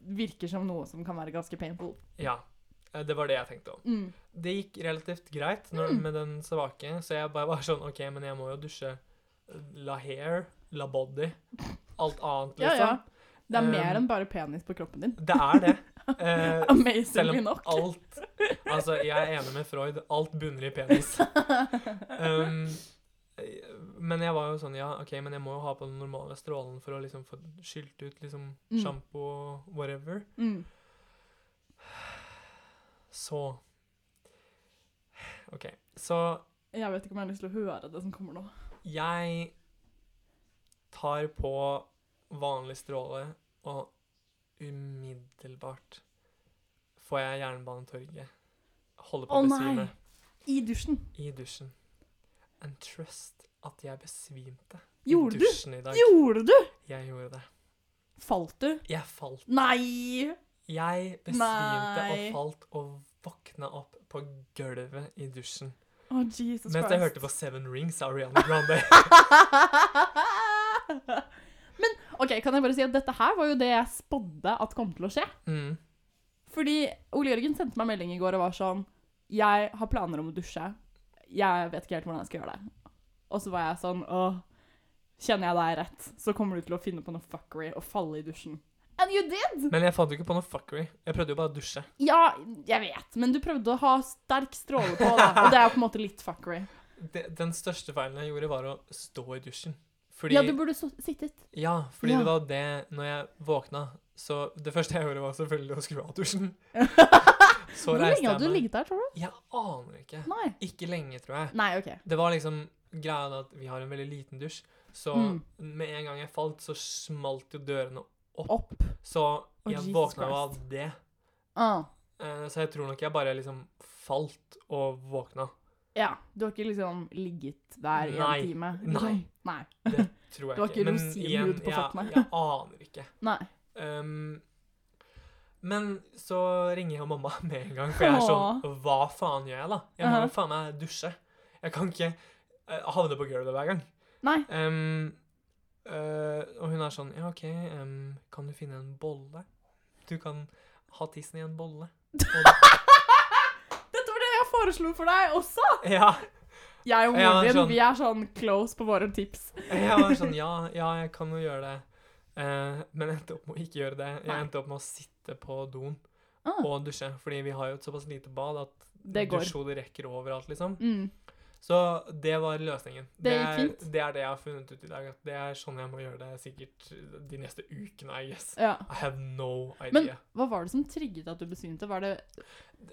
Speaker 1: virker som noe som kan være ganske painful.
Speaker 2: Ja. eh, Det var det jeg tenkte om.
Speaker 1: Mm.
Speaker 2: Det gikk relativt greit når,
Speaker 1: Mm.
Speaker 2: med den svake, så jeg bare var sånn OK, men jeg må jo dusje eh, la hair, la body, alt annet,
Speaker 1: Ja, ja.
Speaker 2: liksom.
Speaker 1: Det er mer
Speaker 2: Um,
Speaker 1: enn bare penis på kroppen din.
Speaker 2: Det er det. Eh, selv
Speaker 1: Amazingly
Speaker 2: om
Speaker 1: nok.
Speaker 2: alt Altså, jeg er enig med Freud. Alt bunner i penis. Um, eh, men jeg var jo sånn Ja, OK, men jeg må jo ha på den normale strålen for å liksom få skylt ut liksom
Speaker 1: Mm.
Speaker 2: sjampo og whatever.
Speaker 1: Mm.
Speaker 2: Så OK. Så
Speaker 1: Jeg vet ikke om jeg har lyst til å høre det som kommer nå.
Speaker 2: Jeg tar på vanlig stråle, og umiddelbart får jeg jernbanetorget. Holder på
Speaker 1: Å
Speaker 2: å
Speaker 1: nei!
Speaker 2: besvime
Speaker 1: I dusjen.
Speaker 2: i dusjen. And trust at jeg besvimte
Speaker 1: Gjorde
Speaker 2: i
Speaker 1: du?
Speaker 2: dusjen i dag.
Speaker 1: Gjorde du?
Speaker 2: Jeg gjorde det.
Speaker 1: Falt du?
Speaker 2: Jeg falt.
Speaker 1: Nei!
Speaker 2: Jeg besvimte
Speaker 1: Nei.
Speaker 2: og falt og våkna opp på gulvet i dusjen.
Speaker 1: Å, Jesus
Speaker 2: Mens jeg hørte på Seven Rings av Rihanna Grande.
Speaker 1: Men OK, kan jeg bare si at dette her var jo det jeg spådde at kom til å skje.
Speaker 2: Mm.
Speaker 1: Fordi Ole Jørgen sendte meg melding i går og var sånn Jeg har planer om å dusje. Jeg vet ikke helt hvordan jeg skal gjøre det. Og så var jeg sånn Åh, kjenner jeg deg rett, så kommer du til å finne på noe fuckery og falle i dusjen. And you did!
Speaker 2: Men jeg fant jo ikke på noe fuckery. Jeg prøvde jo bare å dusje.
Speaker 1: Ja, jeg vet, men du prøvde å ha sterk stråle på, da. Og det er jo på en måte litt fuckery.
Speaker 2: Det, den største feilen jeg gjorde, var å stå i dusjen. Fordi,
Speaker 1: Ja,
Speaker 2: ja,
Speaker 1: du burde så sittet.
Speaker 2: fordi
Speaker 1: Ja.
Speaker 2: det var det Når jeg våkna, så Det første jeg gjorde, var selvfølgelig å skru av dusjen. Så
Speaker 1: Hvor lenge
Speaker 2: reiste jeg
Speaker 1: hadde du
Speaker 2: meg.
Speaker 1: ligget der, tror du?
Speaker 2: Jeg aner ikke.
Speaker 1: Nei.
Speaker 2: Ikke lenge, tror jeg.
Speaker 1: Nei, OK.
Speaker 2: Det var liksom greia da at vi har en veldig liten dusj, så
Speaker 1: Mm.
Speaker 2: med en gang jeg falt, så smalt jo dørene opp.
Speaker 1: Opp.
Speaker 2: Så jeg
Speaker 1: Jesus
Speaker 2: våkna jo av
Speaker 1: Christ.
Speaker 2: det.
Speaker 1: Ah.
Speaker 2: Eh, Så jeg tror nok jeg bare liksom falt og våkna.
Speaker 1: Ja. Du har ikke liksom ligget der i
Speaker 2: Nei.
Speaker 1: en time?
Speaker 2: Nei.
Speaker 1: Nei.
Speaker 2: Det tror jeg
Speaker 1: Du har ikke
Speaker 2: Men
Speaker 1: rosinhud
Speaker 2: igjen,
Speaker 1: på
Speaker 2: jeg-
Speaker 1: føttene.
Speaker 2: Jeg aner ikke.
Speaker 1: Nei.
Speaker 2: Um, men så ringer jeg mamma med en gang, for jeg er sånn Hva faen gjør jeg, da? Jeg må
Speaker 1: Aha.
Speaker 2: jo faen meg dusje. Jeg kan ikke eh, havne på gulvet hver gang.
Speaker 1: Nei.
Speaker 2: Um, eh, og hun er sånn Ja, OK, em, kan du finne en bolle? Du kan ha tissen i en bolle. Og,
Speaker 1: Dette var det jeg foreslo for deg også!
Speaker 2: ja.
Speaker 1: Jeg og
Speaker 2: Ja,
Speaker 1: moren din,
Speaker 2: sånn.
Speaker 1: vi er sånn close på våre tips.
Speaker 2: Jeg var sånn Ja, ja, jeg kan jo gjøre det. Eh, men jeg endte opp med å ikke gjøre det. Jeg
Speaker 1: Nei.
Speaker 2: endte opp med å sitte på doen
Speaker 1: Ah.
Speaker 2: og dusje, fordi vi har jo et såpass lite bad at
Speaker 1: Det går.
Speaker 2: Dusjhodet rekker overalt, liksom.
Speaker 1: Mm.
Speaker 2: Så det var løsningen.
Speaker 1: Det gikk
Speaker 2: er,
Speaker 1: fint.
Speaker 2: det er det jeg har funnet ut i dag. At det er sånn jeg må gjøre det sikkert de neste ukene, I guess.
Speaker 1: Ja.
Speaker 2: I have no
Speaker 1: Men
Speaker 2: idea.
Speaker 1: hva var det som trigget at du besvimte? Var det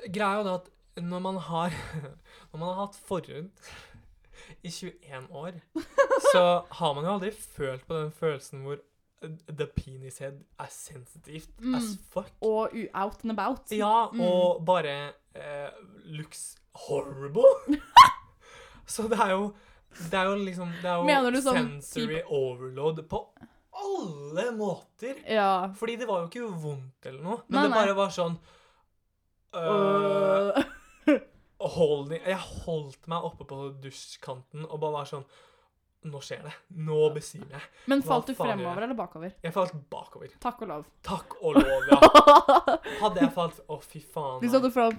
Speaker 2: Greia er jo det at når man har Når man har hatt forhud i 21 år, så har man jo aldri følt på den følelsen hvor eh, the penis head er sensitivt
Speaker 1: Mm.
Speaker 2: as fuck.
Speaker 1: og u- out and about?
Speaker 2: Ja,
Speaker 1: Mm.
Speaker 2: og bare eh, looks horrible. Så det er jo Det er jo liksom Det er jo
Speaker 1: Mener du sånn
Speaker 2: sensory overload på alle måter.
Speaker 1: Ja.
Speaker 2: Fordi det var jo ikke vondt eller noe, men
Speaker 1: Nei,
Speaker 2: det
Speaker 1: nei.
Speaker 2: bare var sånn øh,
Speaker 1: Øh.
Speaker 2: hold, Jeg holdt meg oppe på dusjkanten og bare var sånn Nå skjer det. Nå besvimer jeg.
Speaker 1: Men
Speaker 2: hva
Speaker 1: falt du
Speaker 2: faen gjør
Speaker 1: fremover
Speaker 2: jeg?
Speaker 1: eller bakover?
Speaker 2: Jeg falt bakover.
Speaker 1: Takk og lov.
Speaker 2: Takk og lov, ja. Hadde jeg falt Å, fy faen.
Speaker 1: du
Speaker 2: nei.
Speaker 1: satte fram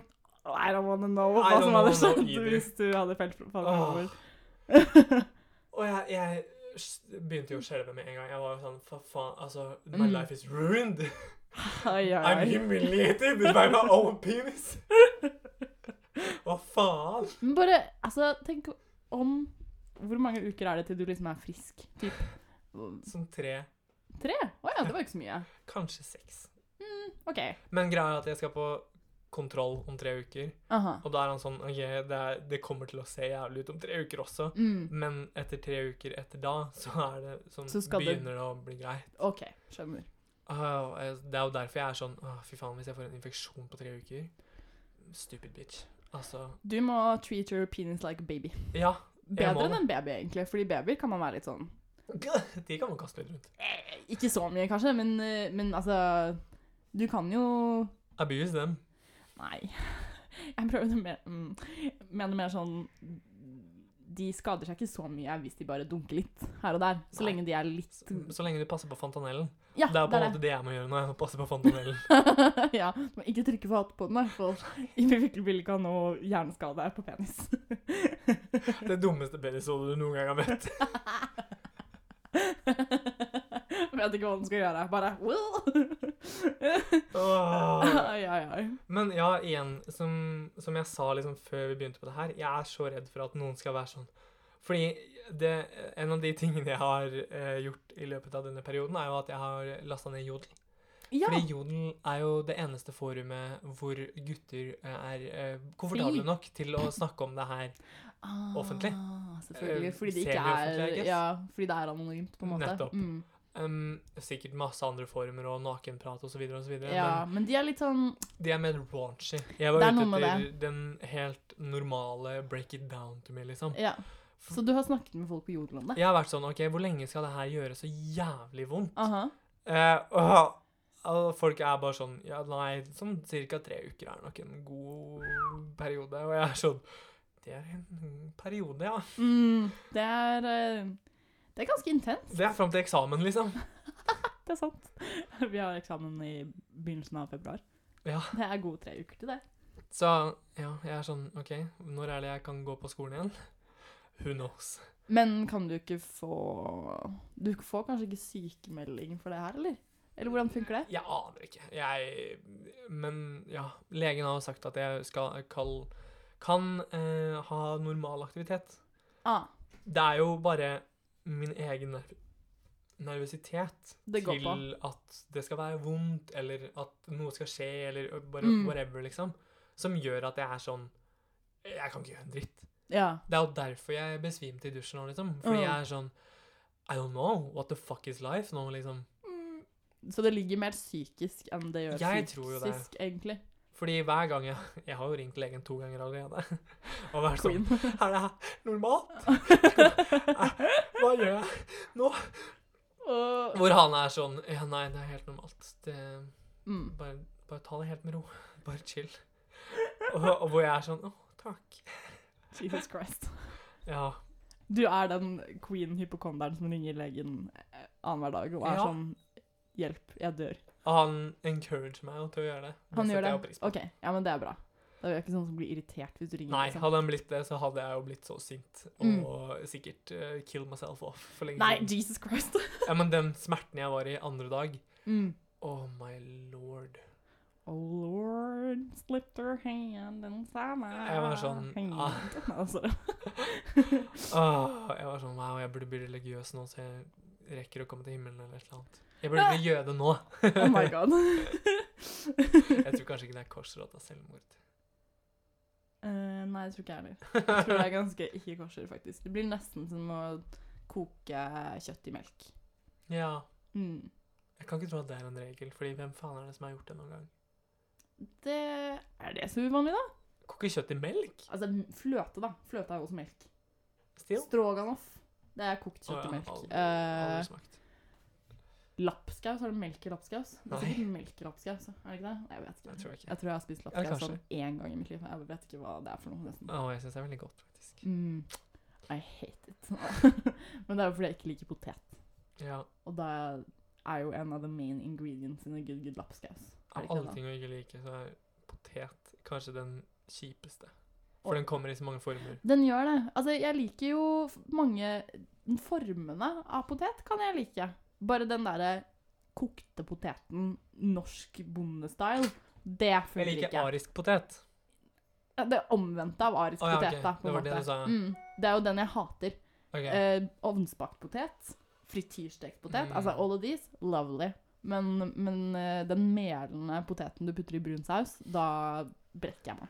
Speaker 1: I don't wanna know
Speaker 2: I
Speaker 1: hva
Speaker 2: don't
Speaker 1: som hadde
Speaker 2: wanna know
Speaker 1: skjedd
Speaker 2: either.
Speaker 1: hvis du hadde falt falt
Speaker 2: Åh.
Speaker 1: fremover.
Speaker 2: Og jeg, jeg s- begynte jo å skjelve med en gang. Jeg var jo sånn For faen, altså My
Speaker 1: Mm.
Speaker 2: life is ruined.
Speaker 1: Ai,
Speaker 2: I'm
Speaker 1: ai.
Speaker 2: humiliated by my own penis. Hva faen?
Speaker 1: Men bare, altså, tenk om Hvor mange uker er det til du liksom er frisk? Typ
Speaker 2: Som Sånn tre,
Speaker 1: tre? Å ja, det var ikke så mye.
Speaker 2: kanskje seks.
Speaker 1: OK.
Speaker 2: Men greia er at jeg skal på kontroll om tre uker.
Speaker 1: Aha.
Speaker 2: Og da er han sånn OK, det, er, det kommer til å se jævlig ut om tre uker også.
Speaker 1: Mm.
Speaker 2: Men etter tre uker etter da, så er det sånn
Speaker 1: Så skal det-
Speaker 2: Begynner det å bli greit.
Speaker 1: OK, skjønner.
Speaker 2: Åh, jeg- det er jo derfor jeg er sånn Åh, Fy faen, hvis jeg får en infeksjon på tre uker Stupid bitch. Altså
Speaker 1: Du må treat your penis like a baby.
Speaker 2: Ja. Jeg må
Speaker 1: Bedre enn en baby, egentlig. Fordi babyer kan man være litt sånn
Speaker 2: De kan man kaste litt rundt.
Speaker 1: eh, Ikke så mye, kanskje, men, eh, men altså Du kan jo
Speaker 2: Abuse dem.
Speaker 1: Nei. Jeg prøver mer, mm, mener mer sånn De skader seg ikke så mye hvis de bare dunker litt her og der. Så
Speaker 2: Nei.
Speaker 1: lenge de er litt
Speaker 2: Så, så lenge du passer på fontanellen.
Speaker 1: Mm. Ja,
Speaker 2: Det er på en måte det jeg må gjøre nå. Jeg må passe på fontanellen.
Speaker 1: ja, du må ikke trykke for hatt på den, i hvert fall. Ikke virkelig vil ikke ha noe hjerneskade på penis.
Speaker 2: Det dummeste penishodet du noen gang har møtt.
Speaker 1: Vet ikke hva den skal gjøre. Bare wow.
Speaker 2: Åh.
Speaker 1: Ai, ai, ai.
Speaker 2: Men ja, igjen, som, som jeg sa liksom før vi begynte på det her, jeg er så redd for at noen skal være sånn. Fordi det, en av de tingene jeg har eh, gjort i løpet av denne perioden, er jo at jeg har lasta ned Jodel.
Speaker 1: Ja.
Speaker 2: Fordi Jodel er jo det eneste forumet hvor gutter eh, er eh, komfortable
Speaker 1: Fri.
Speaker 2: nok til å snakke om det her. offentlig.
Speaker 1: Ah, selvfølgelig.
Speaker 2: Eh,
Speaker 1: Fordi det ikke
Speaker 2: semioffentlig, I
Speaker 1: er
Speaker 2: guess.
Speaker 1: Ja, fordi det er anonymt, på en måte.
Speaker 2: Nettopp.
Speaker 1: Mm.
Speaker 2: Um, sikkert masse andre forumer og nakenprat osv., osv.,
Speaker 1: Ja,
Speaker 2: men
Speaker 1: men de er litt sånn
Speaker 2: de er mer raunchy. Jeg var
Speaker 1: Det er
Speaker 2: ute
Speaker 1: noe med
Speaker 2: etter den helt normale break it down to me, liksom.
Speaker 1: Ja. Så du har snakket med folk på Jodel om det?
Speaker 2: Jeg har vært sånn OK, hvor lenge skal det her gjøre så jævlig vondt?
Speaker 1: Aha.
Speaker 2: Eh, åh, alle folk er bare sånn Ja, nei, sånn ca. tre uker er nok en god periode. Og jeg er sånn Det er en periode, ja.
Speaker 1: Mm, det er eh, Det er ganske intenst.
Speaker 2: Det er fram til eksamen, liksom.
Speaker 1: Det er sant. Vi har eksamen i begynnelsen av februar.
Speaker 2: Ja.
Speaker 1: Det er gode tre uker til det.
Speaker 2: Så ja, jeg er sånn OK, når er det jeg kan gå på skolen igjen? Who knows?
Speaker 1: Men kan du ikke få Du får kanskje ikke sykemelding for det her, eller? Eller hvordan funker det?
Speaker 2: Jeg aner ikke. Jeg Men ja, legen har sagt at jeg skal kall, kan eh, ha normal aktivitet.
Speaker 1: Ah,
Speaker 2: Det er jo bare min egen nerv nervøsitet
Speaker 1: Det går
Speaker 2: til
Speaker 1: på.
Speaker 2: at det skal være vondt, eller at noe skal skje, eller bare
Speaker 1: Mm.
Speaker 2: whatever, liksom, som gjør at jeg er sånn Jeg kan ikke gjøre en dritt.
Speaker 1: ja.
Speaker 2: Det er jo derfor jeg besvimte i dusjen nå, liksom. Fordi
Speaker 1: Mm.
Speaker 2: jeg er sånn I don't know. What the fuck is life nå, liksom?
Speaker 1: Så det ligger mer psykisk enn det gjør
Speaker 2: Jeg
Speaker 1: fysisk,
Speaker 2: tror jo det.
Speaker 1: egentlig.
Speaker 2: Fordi hver gang jeg Jeg har jo ringt legen to ganger allerede. Og vært sånn
Speaker 1: Queen.
Speaker 2: Er det her normalt? Hva gjør jeg?
Speaker 1: Og-
Speaker 2: Hvor han er sånn Ja, nei, det er helt normalt. Det,
Speaker 1: mm.
Speaker 2: bare, bare ta det helt med ro. Bare chill. Og, og hvor jeg er sånn Å, takk.
Speaker 1: Jesus Christ.
Speaker 2: Ja.
Speaker 1: Du er den queen hypokonderen som ringer legen eh, annenhver dag og er
Speaker 2: Ja.
Speaker 1: sånn Hjelp, jeg dør.
Speaker 2: Og han encourager meg jo til å gjøre det.
Speaker 1: Han gjør
Speaker 2: setter
Speaker 1: det?
Speaker 2: jeg jo pris på.
Speaker 1: OK, ja, men det er bra. Da er jeg ikke sånn som blir irritert hvis du ringer.
Speaker 2: Nei,
Speaker 1: liksom.
Speaker 2: hadde han blitt det, så hadde jeg jo blitt så sint og
Speaker 1: Mm.
Speaker 2: sikkert eh, kill myself off for lenge
Speaker 1: Nei,
Speaker 2: siden.
Speaker 1: Jesus Christ.
Speaker 2: Ja, men den smerten jeg var i andre dag
Speaker 1: mm.
Speaker 2: Oh my lord.
Speaker 1: Oh lord, slip their hand inside my
Speaker 2: Jeg var sånn,
Speaker 1: hand.
Speaker 2: ah.
Speaker 1: Altså,
Speaker 2: Åh, jeg var sånn Wow, jeg burde bli religiøs nå, så jeg rekker å komme til himmelen eller et eller annet. Jeg burde bli jøde nå.
Speaker 1: oh my god.
Speaker 2: Jeg tror kanskje ikke det er korsråd av selvmord.
Speaker 1: Eh, nei, det tror ikke jeg heller. Jeg tror det er ganske ikke kosher, faktisk. Det blir nesten som å koke kjøtt i melk.
Speaker 2: Ja.
Speaker 1: Mm.
Speaker 2: Jeg kan ikke tro at det er en regel, fordi hvem faen er det som har gjort det noen gang?
Speaker 1: Det er det så uvanlig, da.
Speaker 2: Koke kjøtt i melk?
Speaker 1: Altså fløte, da. Fløte er jo også melk.
Speaker 2: Still?
Speaker 1: Stroganoff. Det er kokt kjøtt i
Speaker 2: Åh, ja,
Speaker 1: melk.
Speaker 2: aldri-
Speaker 1: Eh,
Speaker 2: aldri smakt.
Speaker 1: lapskaus, har du melk i lapskaus? Det
Speaker 2: Nei.
Speaker 1: er sikkert melk i lapskaus, er det ikke det? Nei, jeg vet ikke.
Speaker 2: Jeg tror ikke.
Speaker 1: Jeg tror jeg har spist
Speaker 2: Ja,
Speaker 1: lapskaus
Speaker 2: kanskje.
Speaker 1: sånn én gang i mitt liv. Jeg vet ikke hva det er for noe, nesten.
Speaker 2: Å, jeg syns det er veldig godt, faktisk.
Speaker 1: Mm. I hate it. Men det er jo fordi jeg ikke liker potet.
Speaker 2: Ja.
Speaker 1: Og da er jo en av the main ingredients in a good good lapskaus. Er det
Speaker 2: Av
Speaker 1: ikke
Speaker 2: alle
Speaker 1: det da?
Speaker 2: ting å ikke like, så er potet kanskje den kjipeste.
Speaker 1: Åh.
Speaker 2: For den kommer i så mange former.
Speaker 1: Den gjør det. Altså, jeg liker jo f- mange formene av potet kan jeg like. Bare den derre kokte poteten, norsk bondestyle, det
Speaker 2: Jeg
Speaker 1: funker
Speaker 2: liker
Speaker 1: ikke.
Speaker 2: arisk potet.
Speaker 1: Det omvendte av arisk
Speaker 2: Å, ja, ok.
Speaker 1: potet, da. På
Speaker 2: Det
Speaker 1: en
Speaker 2: var det
Speaker 1: måte.
Speaker 2: du sa, ja.
Speaker 1: Mm. det er jo den jeg hater.
Speaker 2: Ok,
Speaker 1: Eh, ovnsbakt potet, frityrstekt potet,
Speaker 2: Mm.
Speaker 1: altså all of these, lovely. Men, men eh, den melende poteten du putter i brun saus, da brekker jeg meg.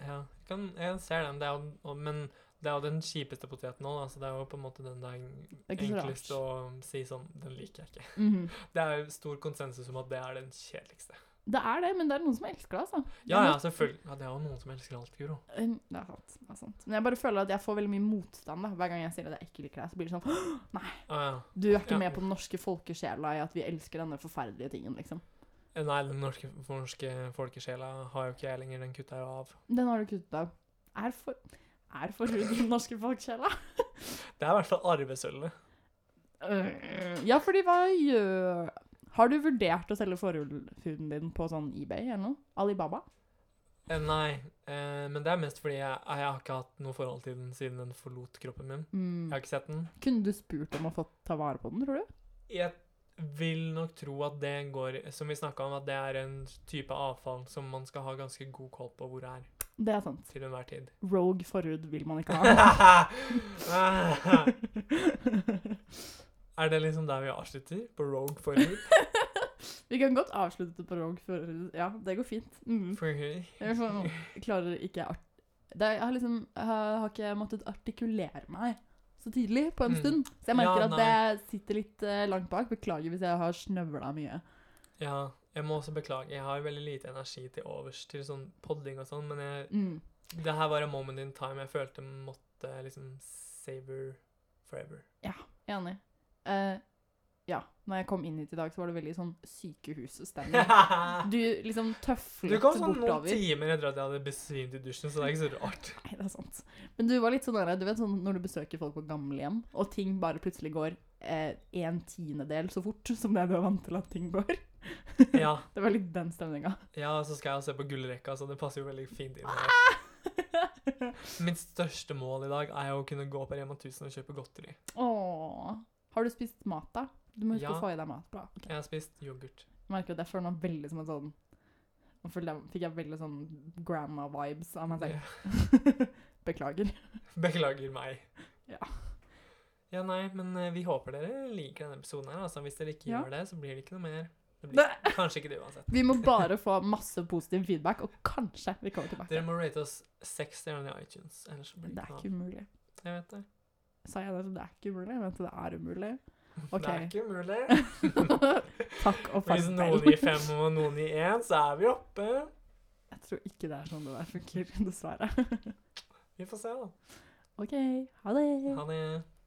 Speaker 2: ja. Jeg, kan, jeg ser den, det er jo, og- men det er jo den kjipeste poteten nå, da, så det er jo på en måte den det er
Speaker 1: Det er ikke så rart.
Speaker 2: enklest å si sånn, den liker jeg ikke.
Speaker 1: Mhm.
Speaker 2: Det er jo stor konsensus om at det er den kjedeligste.
Speaker 1: Det er det, men det er noen som elsker det, altså.
Speaker 2: Ja, ja,
Speaker 1: Men-
Speaker 2: selvfølgelig. Ja, det er jo noen som elsker alt, Guro.
Speaker 1: Eh, Det er sant. det er sant. Men jeg bare føler at jeg får veldig mye motstand da. hver gang jeg sier at jeg ikke liker deg. Så blir det sånn «Åh,
Speaker 2: Å, ja.
Speaker 1: Du er ikke
Speaker 2: Ja.
Speaker 1: med på den norske folkesjela i at vi elsker denne forferdelige tingen, liksom.
Speaker 2: Eh, Nei, den norske, for norske folkesjela har jo ikke jeg lenger, den kutta jeg jo av.
Speaker 1: Den har du kuttet av. Er for Er for rudd den norske folkesjela?
Speaker 2: Det er i hvert fall arvesølvet.
Speaker 1: Øh, Ja, fordi hva gjør Har du vurdert å selge forhuden din på sånn eBay eller noe? Alibaba?
Speaker 2: Eh, Nei, eh, men det er mest fordi jeg, jeg har ikke hatt noe forhold til den siden den forlot kroppen min.
Speaker 1: Mm.
Speaker 2: Jeg har ikke sett den.
Speaker 1: Kunne du spurt om å få ta vare på den, tror du?
Speaker 2: Jeg vil nok tro at det går, som vi snakket om, at det er en type avfall som man skal ha ganske god koll på hvor det er
Speaker 1: Det er sant.
Speaker 2: til enhver tid.
Speaker 1: Rogue forhud vil man ikke ha.
Speaker 2: er det liksom der vi avslutter? På Rogue Forhud?
Speaker 1: Vi kan godt avslutte på rogue forhud. Ja, det går fint. Mm.
Speaker 2: Forhud.
Speaker 1: Jeg er sånn, klarer ikke art det, er- Jeg har liksom jeg har ikke måttet artikulere meg så tidlig på en
Speaker 2: Mm.
Speaker 1: stund. Så jeg
Speaker 2: Ja,
Speaker 1: merker at
Speaker 2: nei.
Speaker 1: det sitter litt eh, langt bak. Beklager hvis jeg har snøvla mye.
Speaker 2: Ja, jeg må også beklage. Jeg har veldig lite energi til overs til sånn podding og sånn, men jeg,
Speaker 1: Mm.
Speaker 2: det her var a moment in time jeg følte måtte liksom savor forever.
Speaker 1: Enig. Eh, ja, når jeg kom inn hit i dag, så var det veldig sånn sykehusstemning.
Speaker 2: Du
Speaker 1: Du liksom tøflet
Speaker 2: kom sånn noen
Speaker 1: bortover.
Speaker 2: timer etter at jeg hadde besvimt i dusjen, så det er ikke så rart.
Speaker 1: Nei, det er sant. Men du var litt sånn der, du vet sånn når du besøker folk på gamlehjem, og ting bare plutselig går eh, en tiendedel så fort som det du er vant til at ting går.
Speaker 2: Ja,
Speaker 1: Det var litt den stemninga.
Speaker 2: ja så skal jeg jo se på gullrekka, så det passer jo veldig fint inn her.
Speaker 1: Ah!
Speaker 2: Mitt største mål i dag er jo å kunne gå på Rema 1000 og kjøpe godteri.
Speaker 1: Åh. Har du spist mat, da? Du må huske
Speaker 2: Ja.
Speaker 1: å få i deg mat. Bra. ok.
Speaker 2: Jeg har spist yoghurt.
Speaker 1: Jeg merker at jeg føler meg veldig som en sånn Nå føler jeg- fikk jeg veldig sånn grandma-vibes av meg selv. Beklager.
Speaker 2: Beklager meg.
Speaker 1: Ja.
Speaker 2: Ja, nei, men eh, vi håper dere liker denne episoden her. Altså, hvis dere ikke
Speaker 1: Ja.
Speaker 2: gjør det, så blir det ikke noe mer. Det blir
Speaker 1: Det-
Speaker 2: kanskje ikke det uansett.
Speaker 1: Vi må bare få masse positiv feedback, og kanskje vi kommer
Speaker 2: Dere
Speaker 1: tilbake.
Speaker 2: må rate oss seks stjerner i iTunes, ellers så blir
Speaker 1: Det
Speaker 2: det
Speaker 1: er
Speaker 2: ikke
Speaker 1: ikke umulig.
Speaker 2: noe. Jeg vet det.
Speaker 1: Sa jeg det? Det er ikke umulig? Vent, det er umulig.
Speaker 2: Det er
Speaker 1: OK.
Speaker 2: ikke umulig.
Speaker 1: Takk og
Speaker 2: Hvis noen gir
Speaker 1: farvel.
Speaker 2: fem og noen gir én, så er vi oppe.
Speaker 1: Jeg tror ikke det er sånn det der funker, dessverre.
Speaker 2: Vi får se, da.
Speaker 1: OK, ha det.
Speaker 2: Ha det.